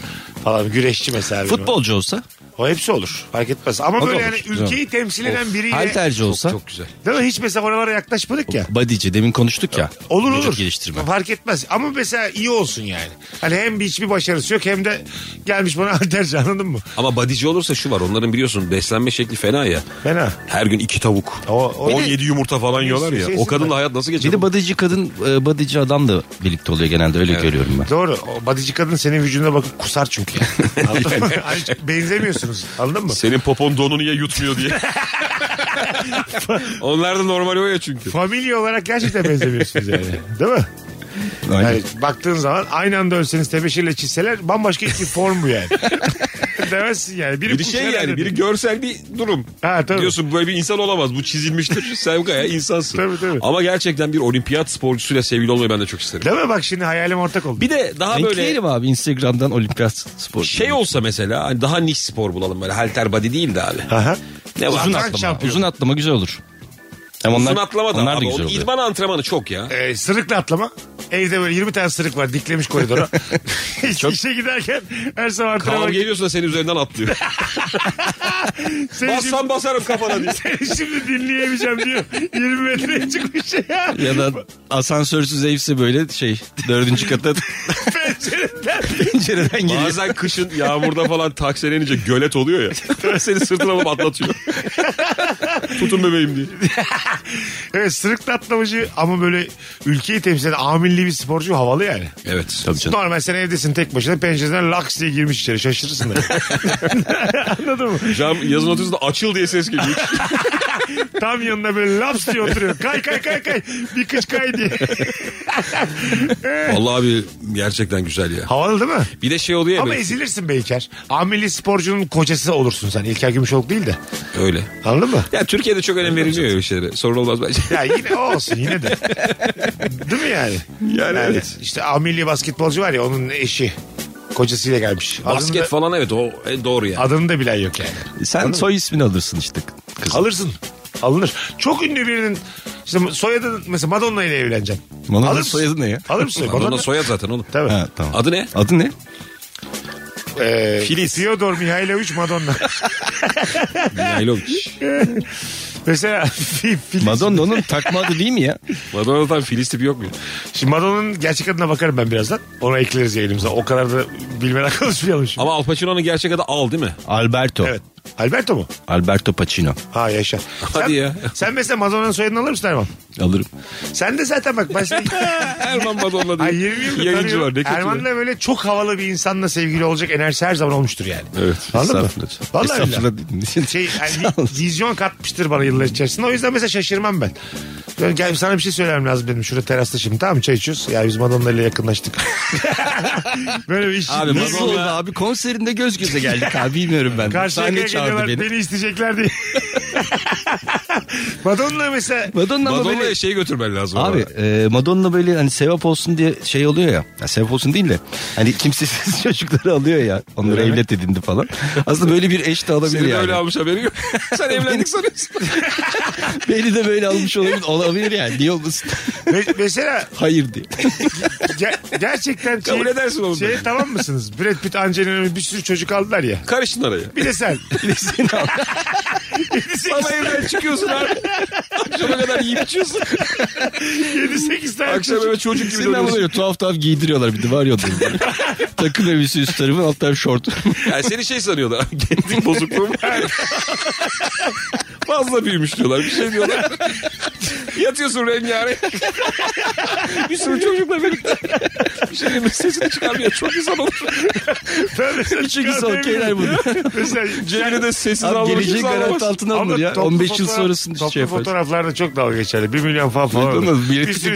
Falan güreşçi mesela. benim hanım.
Futbolcu olsa,
O hepsi olur. Fark etmez. Ama
O da
böyle
olur.
yani ülkeyi temsil eden biriyle.
halterci olsa,
Çok güzel.
Değil mi? Hiç mesela oralara yaklaşmadık ya.
bodyci demin konuştuk ya.
Olur
vücut
olur.
geliştirme.
Fark etmez. Ama mesela iyi olsun yani. Hani hem bir hiçbir başarısı yok hem de gelmiş bana halterci anladın mı?
Ama badici olursa şu var onların biliyorsun beslenme şekli fena ya.
Fena.
Her gün iki tavuk.
O- o-
17 yumurta falan yiyorlar ya.
şey-
o kadınla hayat nasıl geçer?
Bir de bodyci kadın, e, bodyci adam da birlikte oluyor genelde öyle görüyorum ben.
Doğru. O badici kadın senin vücuduna bakıp kusar çünkü. yani. Anladın mı? Hani hiç benzemiyorsunuz. Anladın mı?
Senin popon donu niye yutmuyor diye. Onlar da normal o ya çünkü.
Familya olarak gerçekten benzemiyorsunuz yani. Değil mi?
Aynen.
Yani baktığın zaman aynı anda ölseniz tebeşirle çizseler bambaşka iki form bu yani. Demezsin yani. Biri,
Biri şey
kusar
yani
dedi.
biri görsel bir durum.
Ha, tabii.
Diyorsun böyle bir insan olamaz. Bu çizilmiştir. Sen gaya insansın.
Tabii, tabii.
Ama gerçekten bir olimpiyat sporcusuyla sevgili olmayı ben de çok isterim.
Değil mi? Bak şimdi hayalim ortak oldu.
Bir de daha böyle
Linkleyelim abi Instagram'dan olimpiyat sporcu.
şey olsa mesela hani daha niş spor bulalım böyle halter body değil de abi.
Aha.
Ne var?
uzun
Atlar
atlama.
şampiyon.
Uzun atlama güzel olur. Hem
Uzun atlama da
onlar da
abi.
güzel
Onun
oluyor.
idman antrenmanı çok ya.
Ee, sırıkla atlama. Evde böyle 20 tane sırık var diklemiş koridora. Çok... İşe giderken her sabah antrenmana
Kavga ediyorsun da senin üzerinden atlıyor.
Seni şimdi,
Bassan basarım kafana diye.
seni şimdi dinleyemeyeceğim diyor. 20 metreye çıkmış ya.
Ya da asansörsüz evse böyle şey dördüncü kata
Pencereden.
pencereden geliyor.
Bazen kışın yağmurda falan taksiye inince gölet oluyor ya. Seni sırtına alıp atlatıyor. Tutun bebeğim diye.
Evet sırıkla atlamacı ama böyle ülkeyi temsil eden amilli bir sporcu havalı yani.
Evet.
Tabii canım.
Normal sen evdesin tek başına pencereden laks diye girmiş içeri şaşırırsın. da. Anladın mı?
Cam yazın oturursa da açıl diye ses geliyor.
Tam yanına böyle laps diye oturuyor. Kay kay kay kay. Bir kış kay diye.
Vallahi abi gerçekten güzel ya.
Havalı değil mi?
Bir de şey oluyor ya
Ama
böyle-
ezilirsin be İlker. Amilli sporcunun kocası olursun sen. İlker Gümüşoluk değil de.
öyle.
Anladın mı?
Ya Türkiye'de çok önem verilmiyor ya öyle şeylere. Sorun olmaz bence.
Ya yine o olsun yine de. Değil mi yani?
Yani evet.
İşte amilli basketbolcu var ya onun eşi. Kocasıyla gelmiş. Adını
Basket
da-
falan evet o e, doğru yani.
Adını da bilen yok yani.
Sen soy ismini alırsın işte. Kız.
Alırsın. Alınır. Çok ünlü birinin işte soyadı mesela Madonna ile evleneceğim.
Madonna'nın
Alır mısın?
soyadı ne ya?
Alır mısın?
Madonna, soyad zaten oğlum.
Tabii.
Ha, tamam.
Adı ne?
Adı ne?
Ee,
Filiz.
Theodor Mihailovic Madonna.
Mihailovic.
mesela Fi- Filiz.
Madonna onun takma adı değil mi ya?
Madonna'dan Filiz tipi yok mu?
Şimdi Madonna'nın gerçek adına bakarım ben birazdan. Ona ekleriz yayınımıza. O kadar da bilmeden konuşmayalım şimdi.
Ama Al Pacino'nun gerçek adı Al değil mi?
Alberto.
Evet. Alberto mu?
Alberto Pacino.
Ha yaşa.
Hadi
sen,
ya.
Sen mesela Madonna'nın soyadını alır mısın Erman?
Alırım.
Sen de zaten bak ben seni...
Erman Madonna
Ay,
diye.
20 yıldır
Yayıncı
tanıyorum.
var ne kötü.
Erman da böyle çok havalı bir insanla sevgili olacak enerjisi her zaman olmuştur yani.
Evet.
Anladın mı?
Estağfurullah.
Vallahi billahi.
Estağfurullah dedim.
şey yani
Sağ ol.
vizyon katmıştır bana yıllar içerisinde. O yüzden mesela şaşırmam ben. Ben gel sana bir şey söylemem lazım benim. Şurada terasta şimdi tamam mı çay içiyoruz. Ya biz Madonna ile yakınlaştık. Böyle bir iş.
Abi
Ne
Madonna
oldu?
oldu abi konserinde göz göze geldik abi bilmiyorum ben.
Karşıya
Sahne çağırdı
geliyorlar
beni.
beni isteyecekler diye. Madonna mesela.
Madonna,
Madonna'ya şey götürmen lazım.
Abi e, Madonna böyle hani sevap olsun diye şey oluyor ya. ya sevap olsun değil de hani kimsesiz çocukları alıyor ya. Onları
Evet.
evlat edindi falan. Aslında böyle bir eş de alabilir
Seni
yani.
böyle almış haberi yok. Sen evlendik sanıyorsun.
Beni de böyle almış olabilir, olabilir yani. Niye olmasın?
Me- mesela
Hayır diye.
ge- gerçekten
Kabul edersin oğlum.
şeye tamam mısınız? Brad Pitt, Angelina Jolie bir sürü çocuk aldılar ya.
Karıştın araya.
Bir de sen.
Bir de seni al.
Ama evden çıkıyorsun abi. Akşama kadar yiyip içiyorsun.
7-8 tane
Akşam
çocuk.
eve çocuk gibi
Seni ama
dönüyorsun.
böyle tuhaf tuhaf giydiriyorlar bir de var ya onların böyle. Takım elbise üst tarafı alt taraf şort.
Yani seni şey sanıyorlar. Genetik bozukluğu mu? Fazla büyümüş diyorlar. Bir şey diyorlar. Yatıyorsun rengarenk. bir sürü çocukla birlikte. Bir şey diyeyim mi? sesini çıkarmıyor. Çok insan olur.
Ben mesela
Küçük insan
çıkartayım.
okeyler bunu.
Mesela
Cebine de sessiz
Abi
almak
geleceği
kimse
garanti
anlamaz.
altına alınır
Ama
ya.
toplu
15 yıl
fotoğraf-
sonrasını
toplu
şey yaparız.
fotoğraflarda çok dalga geçerli. 1 milyon falan falan.
Duydun mu? Bir
sürü
herifin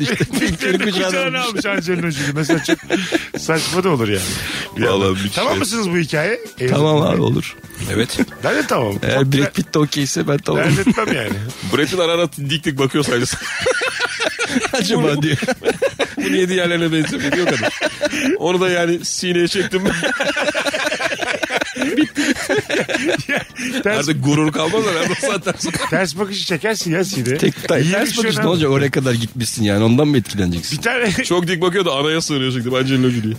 işte. Bir
çocuk-
herifin kucağına
Kucağına
almış.
almış Angelina Jolie. Mesela çok saçma da olur yani. Bir
Vallahi
yandan.
müthiş.
Tamam mısınız bu hikaye?
Şey- Tamam abi olur.
Evet.
Ben de tamam.
Eğer Brad Pitt de okeyse ben tamam.
Ben de etmem yani.
Brett'in arana dik dik bakıyor sadece.
Acaba diyor.
Bunu yedi yerlerine benziyor. Biliyor kadın. Onu da yani sineye çektim.
Ters,
Artık gurur kalmaz herhalde o saatten sonra.
ters bakışı çekersin ya sine.
Tek tay.
İyi
Ters
düşünen-
bakış ne olacak oraya kadar gitmişsin yani ondan mı etkileneceksin?
Bir tane
Çok dik bakıyor da anaya sığınıyor çünkü Angelina Jolie.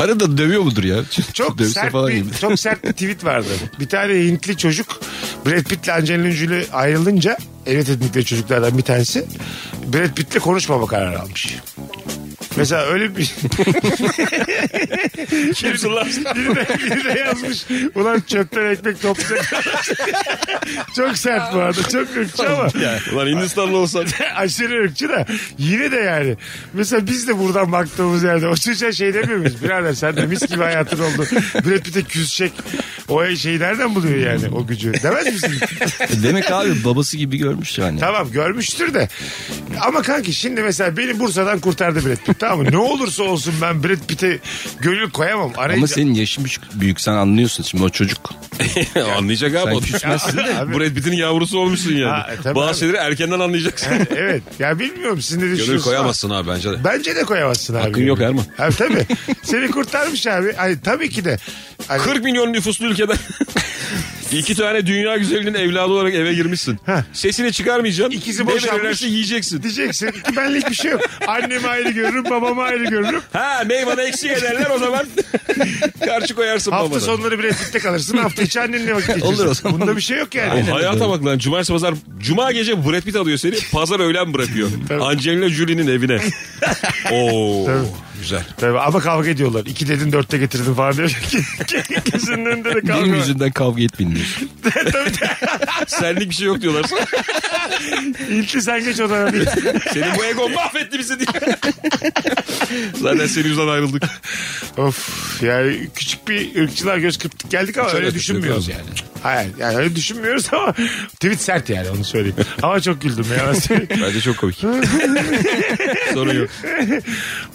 Arada dövüyor mudur ya?
çok
Dövse
sert
falan
bir,
gibi.
çok sert bir tweet vardı. Bir tane Hintli çocuk Brad Pitt'le Angelina Jolie ayrılınca evet etnikleri çocuklardan bir tanesi Brad Pitt'le konuşmama kararı almış. Mesela öyle bir
Kimsin lan sen?
biri de, biri de yazmış. Ulan çöpten ekmek toplayacak. çok sert bu arada. Çok ırkçı ama.
Ulan Hindistanlı olsan.
aşırı ırkçı da yine de yani. Mesela biz de buradan baktığımız yerde o çocuğa şey demiyor muyuz? Birader sen de mis gibi hayatın oldu. Brad Pitt'e küs çek. O şeyi nereden buluyor yani o gücü? Demez misin?
E, Demek abi babası gibi görmüş yani.
tamam görmüştür de. Ama kanki şimdi mesela beni Bursa'dan kurtardı Brad Pitt tamam mı? Ne olursa olsun ben Brad Pitt'e gönül koyamam. Arayınca...
Ama senin yaşın büyük, büyük sen anlıyorsun şimdi o çocuk.
Anlayacak abi.
Sen
o.
küsmezsin de.
Abi-
Brad Pitt'in yavrusu olmuşsun yani.
Ha, e, tabii abi.
Bazı şeyleri erkenden anlayacaksın.
Evet. Ya bilmiyorum siz ne düşünüyorsunuz?
Gönül
ama-
koyamazsın abi bence de.
Bence de koyamazsın abi.
Hakkın yok Erman.
Ha, tabii. Seni kurtarmış abi. Hani, tabii ki de. Hani,
40 milyon nüfuslu ülkeden iki tane dünya güzelinin evladı olarak eve girmişsin.
Heh.
Sesini çıkarmayacaksın.
İkisi
Ne
boşanmış.
verirlerse yiyeceksin.
diyeceksin ki benlik bir şey yok. Annemi ayrı görürüm, babamı ayrı görürüm.
Ha meyvana eksik ederler o zaman. Karşı koyarsın
Hafta
babana.
sonları bile birlikte kalırsın. Hafta içi annenle vakit geçirirsin.
Olur o zaman.
Bunda bir şey yok yani.
O hayata bak lan. Cumartesi pazar. Cuma gece Brad Pitt alıyor seni. Pazar öğlen bırakıyor. Angelina Jolie'nin evine. Oo. Güzel.
Tabii ama kavga ediyorlar. İki dedin dörtte getirdin falan diyor. Gözünün önünde de kavga
Benim
var.
yüzünden kavga etmeyin diyor.
Senlik bir şey yok diyorlar.
İlkli sen geç odana diye.
Senin bu egon mahvetti bizi diye. Zaten senin yüzünden ayrıldık.
Of yani küçük bir ırkçılar göz kırptık geldik ama öyle düşünmüyoruz yani. Hayır yani öyle düşünmüyoruz ama tweet sert yani onu söyleyeyim. Ama çok güldüm ya.
Bence çok komik. Sorun yok.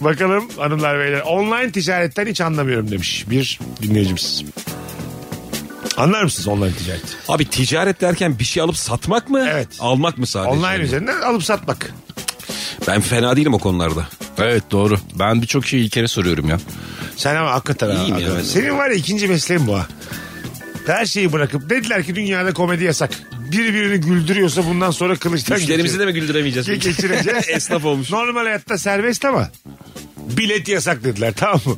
Bakalım hanımlar beyler. Online ticaretten hiç anlamıyorum demiş bir dinleyicimiz. Anlar mısınız online ticaret?
Abi ticaret derken bir şey alıp satmak mı?
Evet.
Almak mı sadece?
Online üzerinden alıp satmak.
Ben fena değilim o konularda.
Evet doğru. Ben birçok şeyi ilk kere soruyorum ya.
Sen ama hakikaten ha,
İyiyim ya
hakikaten.
ben de.
Senin var ya ikinci mesleğin bu ha. Her şeyi bırakıp dediler ki dünyada komedi yasak. Biri birini güldürüyorsa bundan sonra kılıçtan
Müşterimizi de
geçir-
mi güldüremeyeceğiz?
ge- geçireceğiz.
Esnaf olmuş.
Normal hayatta serbest ama bilet yasak dediler tamam mı?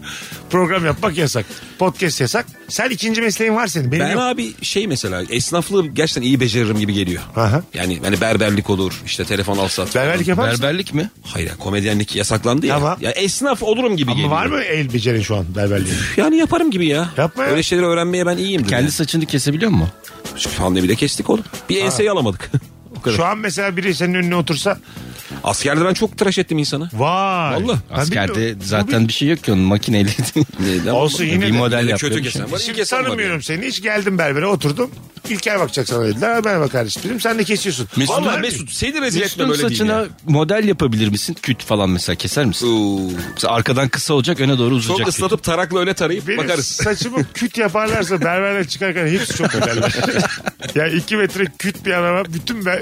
Program yapmak yasak. Podcast yasak. Sen ikinci mesleğin var senin. Benim
Ben
yok.
abi şey mesela esnaflığı gerçekten iyi beceririm gibi geliyor.
Aha.
Yani hani berberlik olur işte telefon al sat.
Berberlik yapar mısın?
Berberlik mi?
Hayır ya, komedyenlik yasaklandı ya.
Tamam.
Ya esnaf olurum gibi
Ama
geliyor.
var mı el becerin şu an berberliği?
Yani yaparım gibi ya.
Yapma ya.
Öyle şeyleri öğrenmeye ben iyiyimdir.
Kendi saçını kesebiliyor mu?
yani. Şu Pandemide kestik oğlum. Bir enseyi alamadık. o kadar.
Şu an mesela biri senin önüne otursa
Askerde ben çok tıraş ettim insanı.
vay.
Vallahi.
Ben
Askerde
bilmiyorum.
zaten bir şey yok ki onun makineyle.
Neydi ama-
Olsun yine
bir
de.
model
Yine de
yapıyor.
kötü
bir şey.
kesen var. iyi
Şimdi
kesen var
tanımıyorum
yani.
seni. Hiç geldim berbere oturdum. İlker bakacak sana dediler. Ha, Merhaba kardeşim dedim. Sen de kesiyorsun.
Mesut-
Vallahi
Vallahi
mi?
Mesut seni rezil etme
Mesut'un
böyle değil
saçına
ya.
model yapabilir misin? Küt falan mesela keser misin?
Oo.
Mesela arkadan kısa olacak öne doğru uzayacak.
Çok
diye.
ıslatıp tarakla öyle tarayıp
Benim
bakarız.
saçımı küt yaparlarsa berberden çıkarken hepsi çok öderler. ya iki metre küt bir adama bütün ben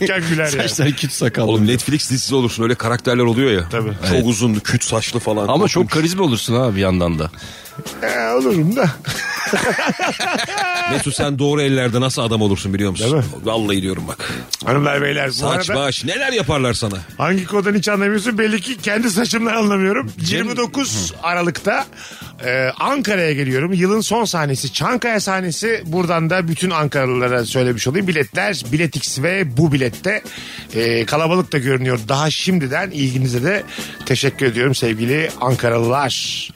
dükkan güler ya.
küt sakallı.
Oğlum Netflix dizisi olursun öyle karakterler oluyor ya. Tabii. Çok
Evet.
uzun küt saçlı falan.
Ama çok karizma olursun ha bir yandan da.
Ee, olurum da.
Mesut sen doğru ellerde nasıl adam olursun biliyor musun? Vallahi diyorum bak.
Hanımlar beyler bu
Saç
arada-
baş neler yaparlar sana.
Hangi kodan hiç anlamıyorsun belli ki kendi saçımdan anlamıyorum. 29 Aralık'ta e, Ankara'ya geliyorum. Yılın son sahnesi Çankaya sahnesi. Buradan da bütün Ankaralılara söylemiş olayım. Biletler Biletix ve bu bilette E, kalabalık da görünüyor. Daha şimdiden ilginize de teşekkür ediyorum sevgili Ankaralılar.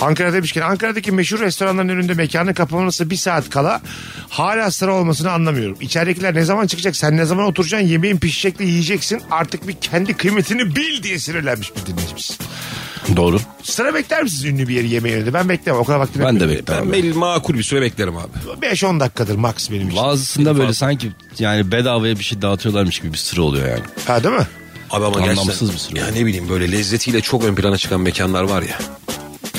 Ankara demişken Ankara'daki meşhur restoranların önünde mekanın kapanmasına bir saat kala hala sıra olmasını anlamıyorum. İçeridekiler ne zaman çıkacak sen ne zaman oturacaksın yemeğin pişecek de yiyeceksin artık bir kendi kıymetini bil diye sinirlenmiş bir dinleyicimiz.
Doğru.
Sıra bekler misiniz ünlü bir yeri yemeğin önünde? Ben beklemem o kadar vaktim
Ben de
Ben
beklerim.
belli makul bir süre beklerim abi.
5-10 dakikadır max benim için.
şey Bazısında böyle sanki yani bedavaya bir şey dağıtıyorlarmış gibi bir sıra oluyor yani.
Ha değil mi?
Abi ama
Anlamsız
gerçekten-
bir sürü.
Ya ne bileyim böyle lezzetiyle çok ön plana çıkan mekanlar var ya.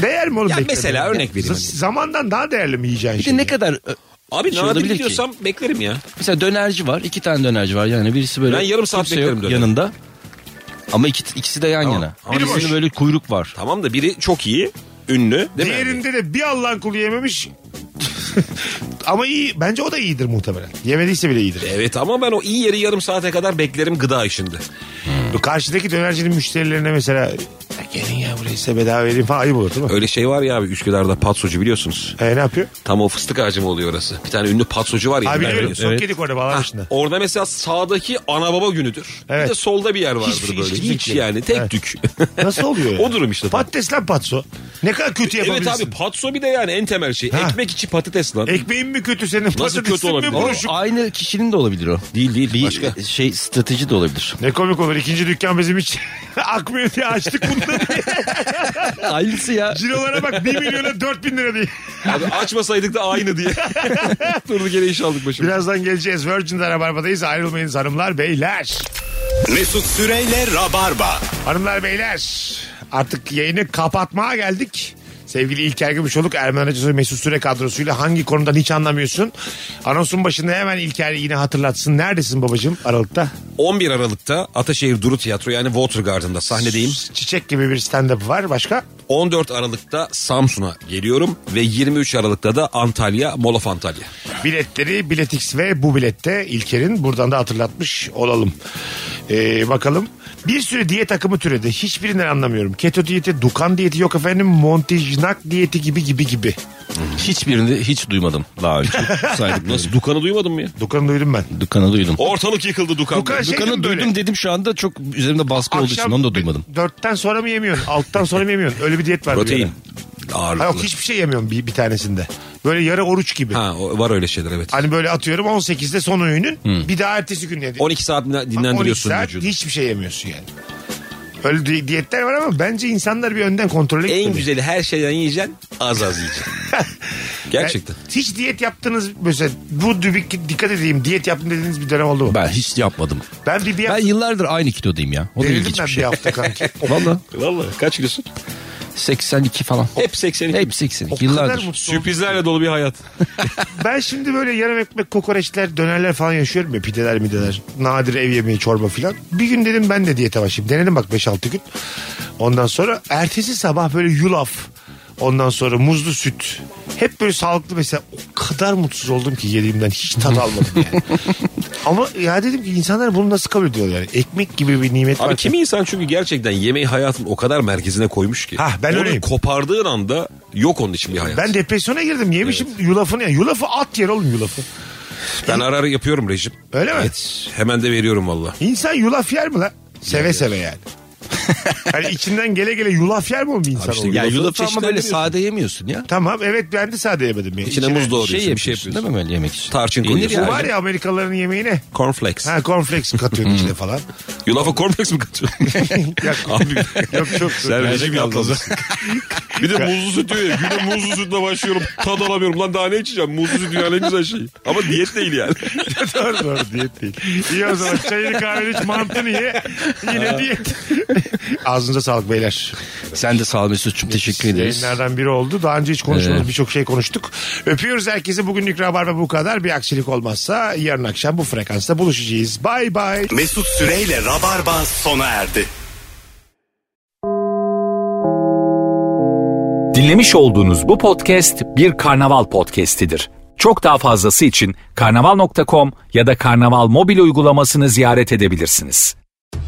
Değer mi oğlum
Ya
beklemek?
mesela örnek
Ya,
vereyim
z-
hani.
Zamandan daha değerli mi yiyeceğin
Bir
şey?
de ne kadar
E,
ö,
Abi
şey
ne
olabilir
yapabilir
ki?
diyorsam beklerim ya.
Mesela dönerci var. iki tane dönerci var. Yani birisi böyle
Ben yarım saat
kimse yok
beklerim döner.
yanında. Ama iki, ikisi de yan yana. Ama
Biri
birisinde
boş.
böyle kuyruk var.
Tamam da biri çok iyi, ünlü değil mi?
Diğerinde de bir Allah'ın kulu yememiş. Ama iyi. Bence o da iyidir muhtemelen. Yemediyse bile iyidir.
Evet ama ben o iyi yeri yarım saate kadar beklerim gıda işinde.
Bu Karşıdaki dönercinin müşterilerine mesela "Ya gelin ya buraya size bedava vereyim falan ayıp olur değil mi?
Öyle şey var ya abi Üsküdar'da patsocu biliyorsunuz.
E, ne yapıyor?
Tam o fıstık ağacı mı oluyor orası? Bir tane ünlü patsocu var ya.
Ha
ben
biliyorum.
biliyorsun.
Sok yedik orada bağlar
Ha,
dışında.
orada mesela sağdaki ana baba günüdür.
Evet.
Bir de solda bir yer vardır
Hiçbir-
böyle.
hiçbir
Hiç
şey.
yani tek
Evet.
tük.
Nasıl oluyor?
O durum işte.
Patates lan patso. Ne kadar kötü
evet
yapabilirsin.
abi patso bir de yani en temel şey.
Ha.
Ekmek içi patates lan.
Ekmeğin mi kötü senin? Patatesin
kötü
mi
olabilir?
O
buruşuk?
aynı kişinin de olabilir o.
Değil değil
Bir
başka.
şey strateji de olabilir.
Ne komik olur. İkinci dükkan bizim hiç akmıyor diye açtık bunları.
Aynısı ya.
Cirolara bak 1 milyona 4 bin lira diye.
Abi açmasaydık da aynı diye. Durdu gene iş aldık başımıza.
Birazdan geleceğiz. Virgin'de Rabarba'dayız. Ayrılmayınız hanımlar beyler.
Mesut Süreyle Rabarba.
Hanımlar beyler artık yayını kapatmaya geldik. Sevgili İlker Gümüşoluk, Ermen Hacısı Mesut Süre kadrosuyla hangi konudan hiç anlamıyorsun? Anonsun başında hemen İlker yine hatırlatsın. Neredesin babacığım Aralık'ta?
11 Aralık'ta Ataşehir Duru Tiyatro yani Watergarden'da sahnedeyim.
Çiçek gibi bir stand-up var. Başka?
14 Aralık'ta Samsun'a geliyorum ve 23 Aralık'ta da Antalya, Molof Antalya.
Biletleri Biletix ve bu bilette İlker'in buradan da hatırlatmış olalım. Ee, bakalım. Bir sürü diyet takımı türedi. Hiçbirinden anlamıyorum. Keto diyeti, dukan diyeti yok efendim. Montijnak diyeti gibi gibi gibi.
Hiçbirini hiç duymadım daha önce. Saydık nasıl?
Nasıl Dukan'ı duymadın mı ya?
Dukanı duydum ben.
Dükkanı duydum.
Ortalık yıkıldı Dukan'da.
Dukan şey-
Dükkanı
Duydum
duydum
böyle.
dedim şu anda çok üzerimde baskı olduğu için onu da duymadım.
bir- Dörtten sonra mı yemiyorsun? Alttan sonra mı yemiyorsun? Öyle bir diyet var. bir
Protein
ara.
ağırlıklı.
Ha, yok hiçbir şey yemiyorum bir, bir tanesinde. Böyle yarı oruç gibi.
Ha o- var öyle şeyler evet.
Hani böyle atıyorum 18'de son öğünün bir daha ertesi gün yedin.
12 saat dinlen- dinlendiriyorsun
12 saat
vücudu.
hiçbir şey yemiyorsun yani. Öyle di- diyetler var ama bence insanlar bir önden kontrole
En
gitmeli.
güzeli her şeyden yiyeceksin az az yiyeceksin. Gerçekten.
Yani hiç diyet yaptınız mesela bu dübük dikkat edeyim diyet yaptım dediğiniz bir dönem oldu mu? Ben,
Ben hiç yapmadım.
bir bir
Ben
hafta
yıllardır aynı kilodayım ya. O da
denedim
ilginç
ben
bir şey.
bir hafta kanki.
Valla
Vallahi kaç kilosun?
82 falan.
Hep 82.
Hep
O
82.
kadar
Yıllardır.
mutlu oldum.
Sürprizlerle dolu bir hayat.
Ben şimdi böyle yarım ekmek kokoreçler, dönerler falan yaşıyorum ya pideler mideler. Nadir ev yemeği çorba falan. Bir gün dedim ben de diyete başlayayım. Denedim bak 5-6 gün. Ondan sonra ertesi sabah böyle yulaf. Ondan sonra muzlu süt. Hep böyle sağlıklı mesela o kadar mutsuz oldum ki yediğimden hiç tat almadım yani. Ama ya dedim ki insanlar bunu nasıl kabul ediyorlar yani. Ekmek gibi bir nimet
Abi
var.
kimi insan çünkü gerçekten yemeği hayatın o kadar merkezine koymuş ki.
Hah, ben
Onu
öyleyim.
kopardığın anda yok onun için bir hayat.
Ben depresyona girdim yemişim yulafını. Yani. Yulafı at yer oğlum yulafı.
Ben ara ara yapıyorum rejim.
Öyle mi?
Evet. Hemen de veriyorum valla.
İnsan yulaf yer mi lan? Seve seve yani. hani içinden gele gele yulaf yer mi oğlum bir insan
Abi işte
olur?
Ya
Yulafı
yulafı ama böyle
çeşitlendiriyorsun.
sade yemiyorsun ya.
Tamam evet ben de sade yemedim yani.
İçine muz doğruyorsun
Şey
bir şey
yapıyorsun
yapıyorsun.
değil mi böyle yemek için?
Tarçın
Yenir
koyuyorsun.
Bu
yani.
var ya Amerikalıların yemeğine.
Cornflakes.
Ha cornflakes katıyorsun içine falan.
Yulafa cornflakes mi katıyorsun?
Ya,
Hmm. Abi
yok çok.
sen rejim yaptın. bir de muzlu süt diyor ya. Güne muzlu sütle başlıyorum. Tad alamıyorum. Lan daha ne içeceğim? Muzlu süt dünyanın en güzel şeyi. Ama diyet değil yani.
doğru doğru diyet değil. İyi o zaman çayını kahveni iç mantını ye. Yine diyet. Ağzınıza sağlık beyler.
Sen de sağ ol Mesut'cum teşekkür ederiz.
Yayınlardan biri oldu. Daha önce hiç konuşmadığımız
Evet.
birçok şey konuştuk. Öpüyoruz herkesi. Bugünlük Rabarba bu kadar. Bir aksilik olmazsa yarın akşam bu frekansta buluşacağız. Bay bay.
Mesut Süreyle Rabarba sona erdi.
Dinlemiş olduğunuz bu podcast bir karnaval podcastidir. Çok daha fazlası için karnaval.com ya da karnaval mobil uygulamasını ziyaret edebilirsiniz.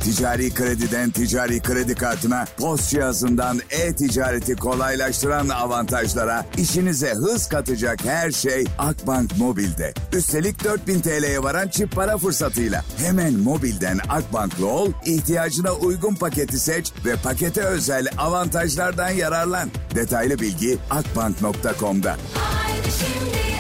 Ticari krediden ticari kredi kartına, post cihazından e-ticareti kolaylaştıran avantajlara, işinize hız katacak her şey Akbank Mobil'de. Üstelik 4000 TL'ye varan çift para fırsatıyla. Hemen mobilden Akbank'lı ol, ihtiyacına uygun paketi seç ve pakete özel avantajlardan yararlan. Detaylı bilgi akbank.com'da.
Haydi şimdi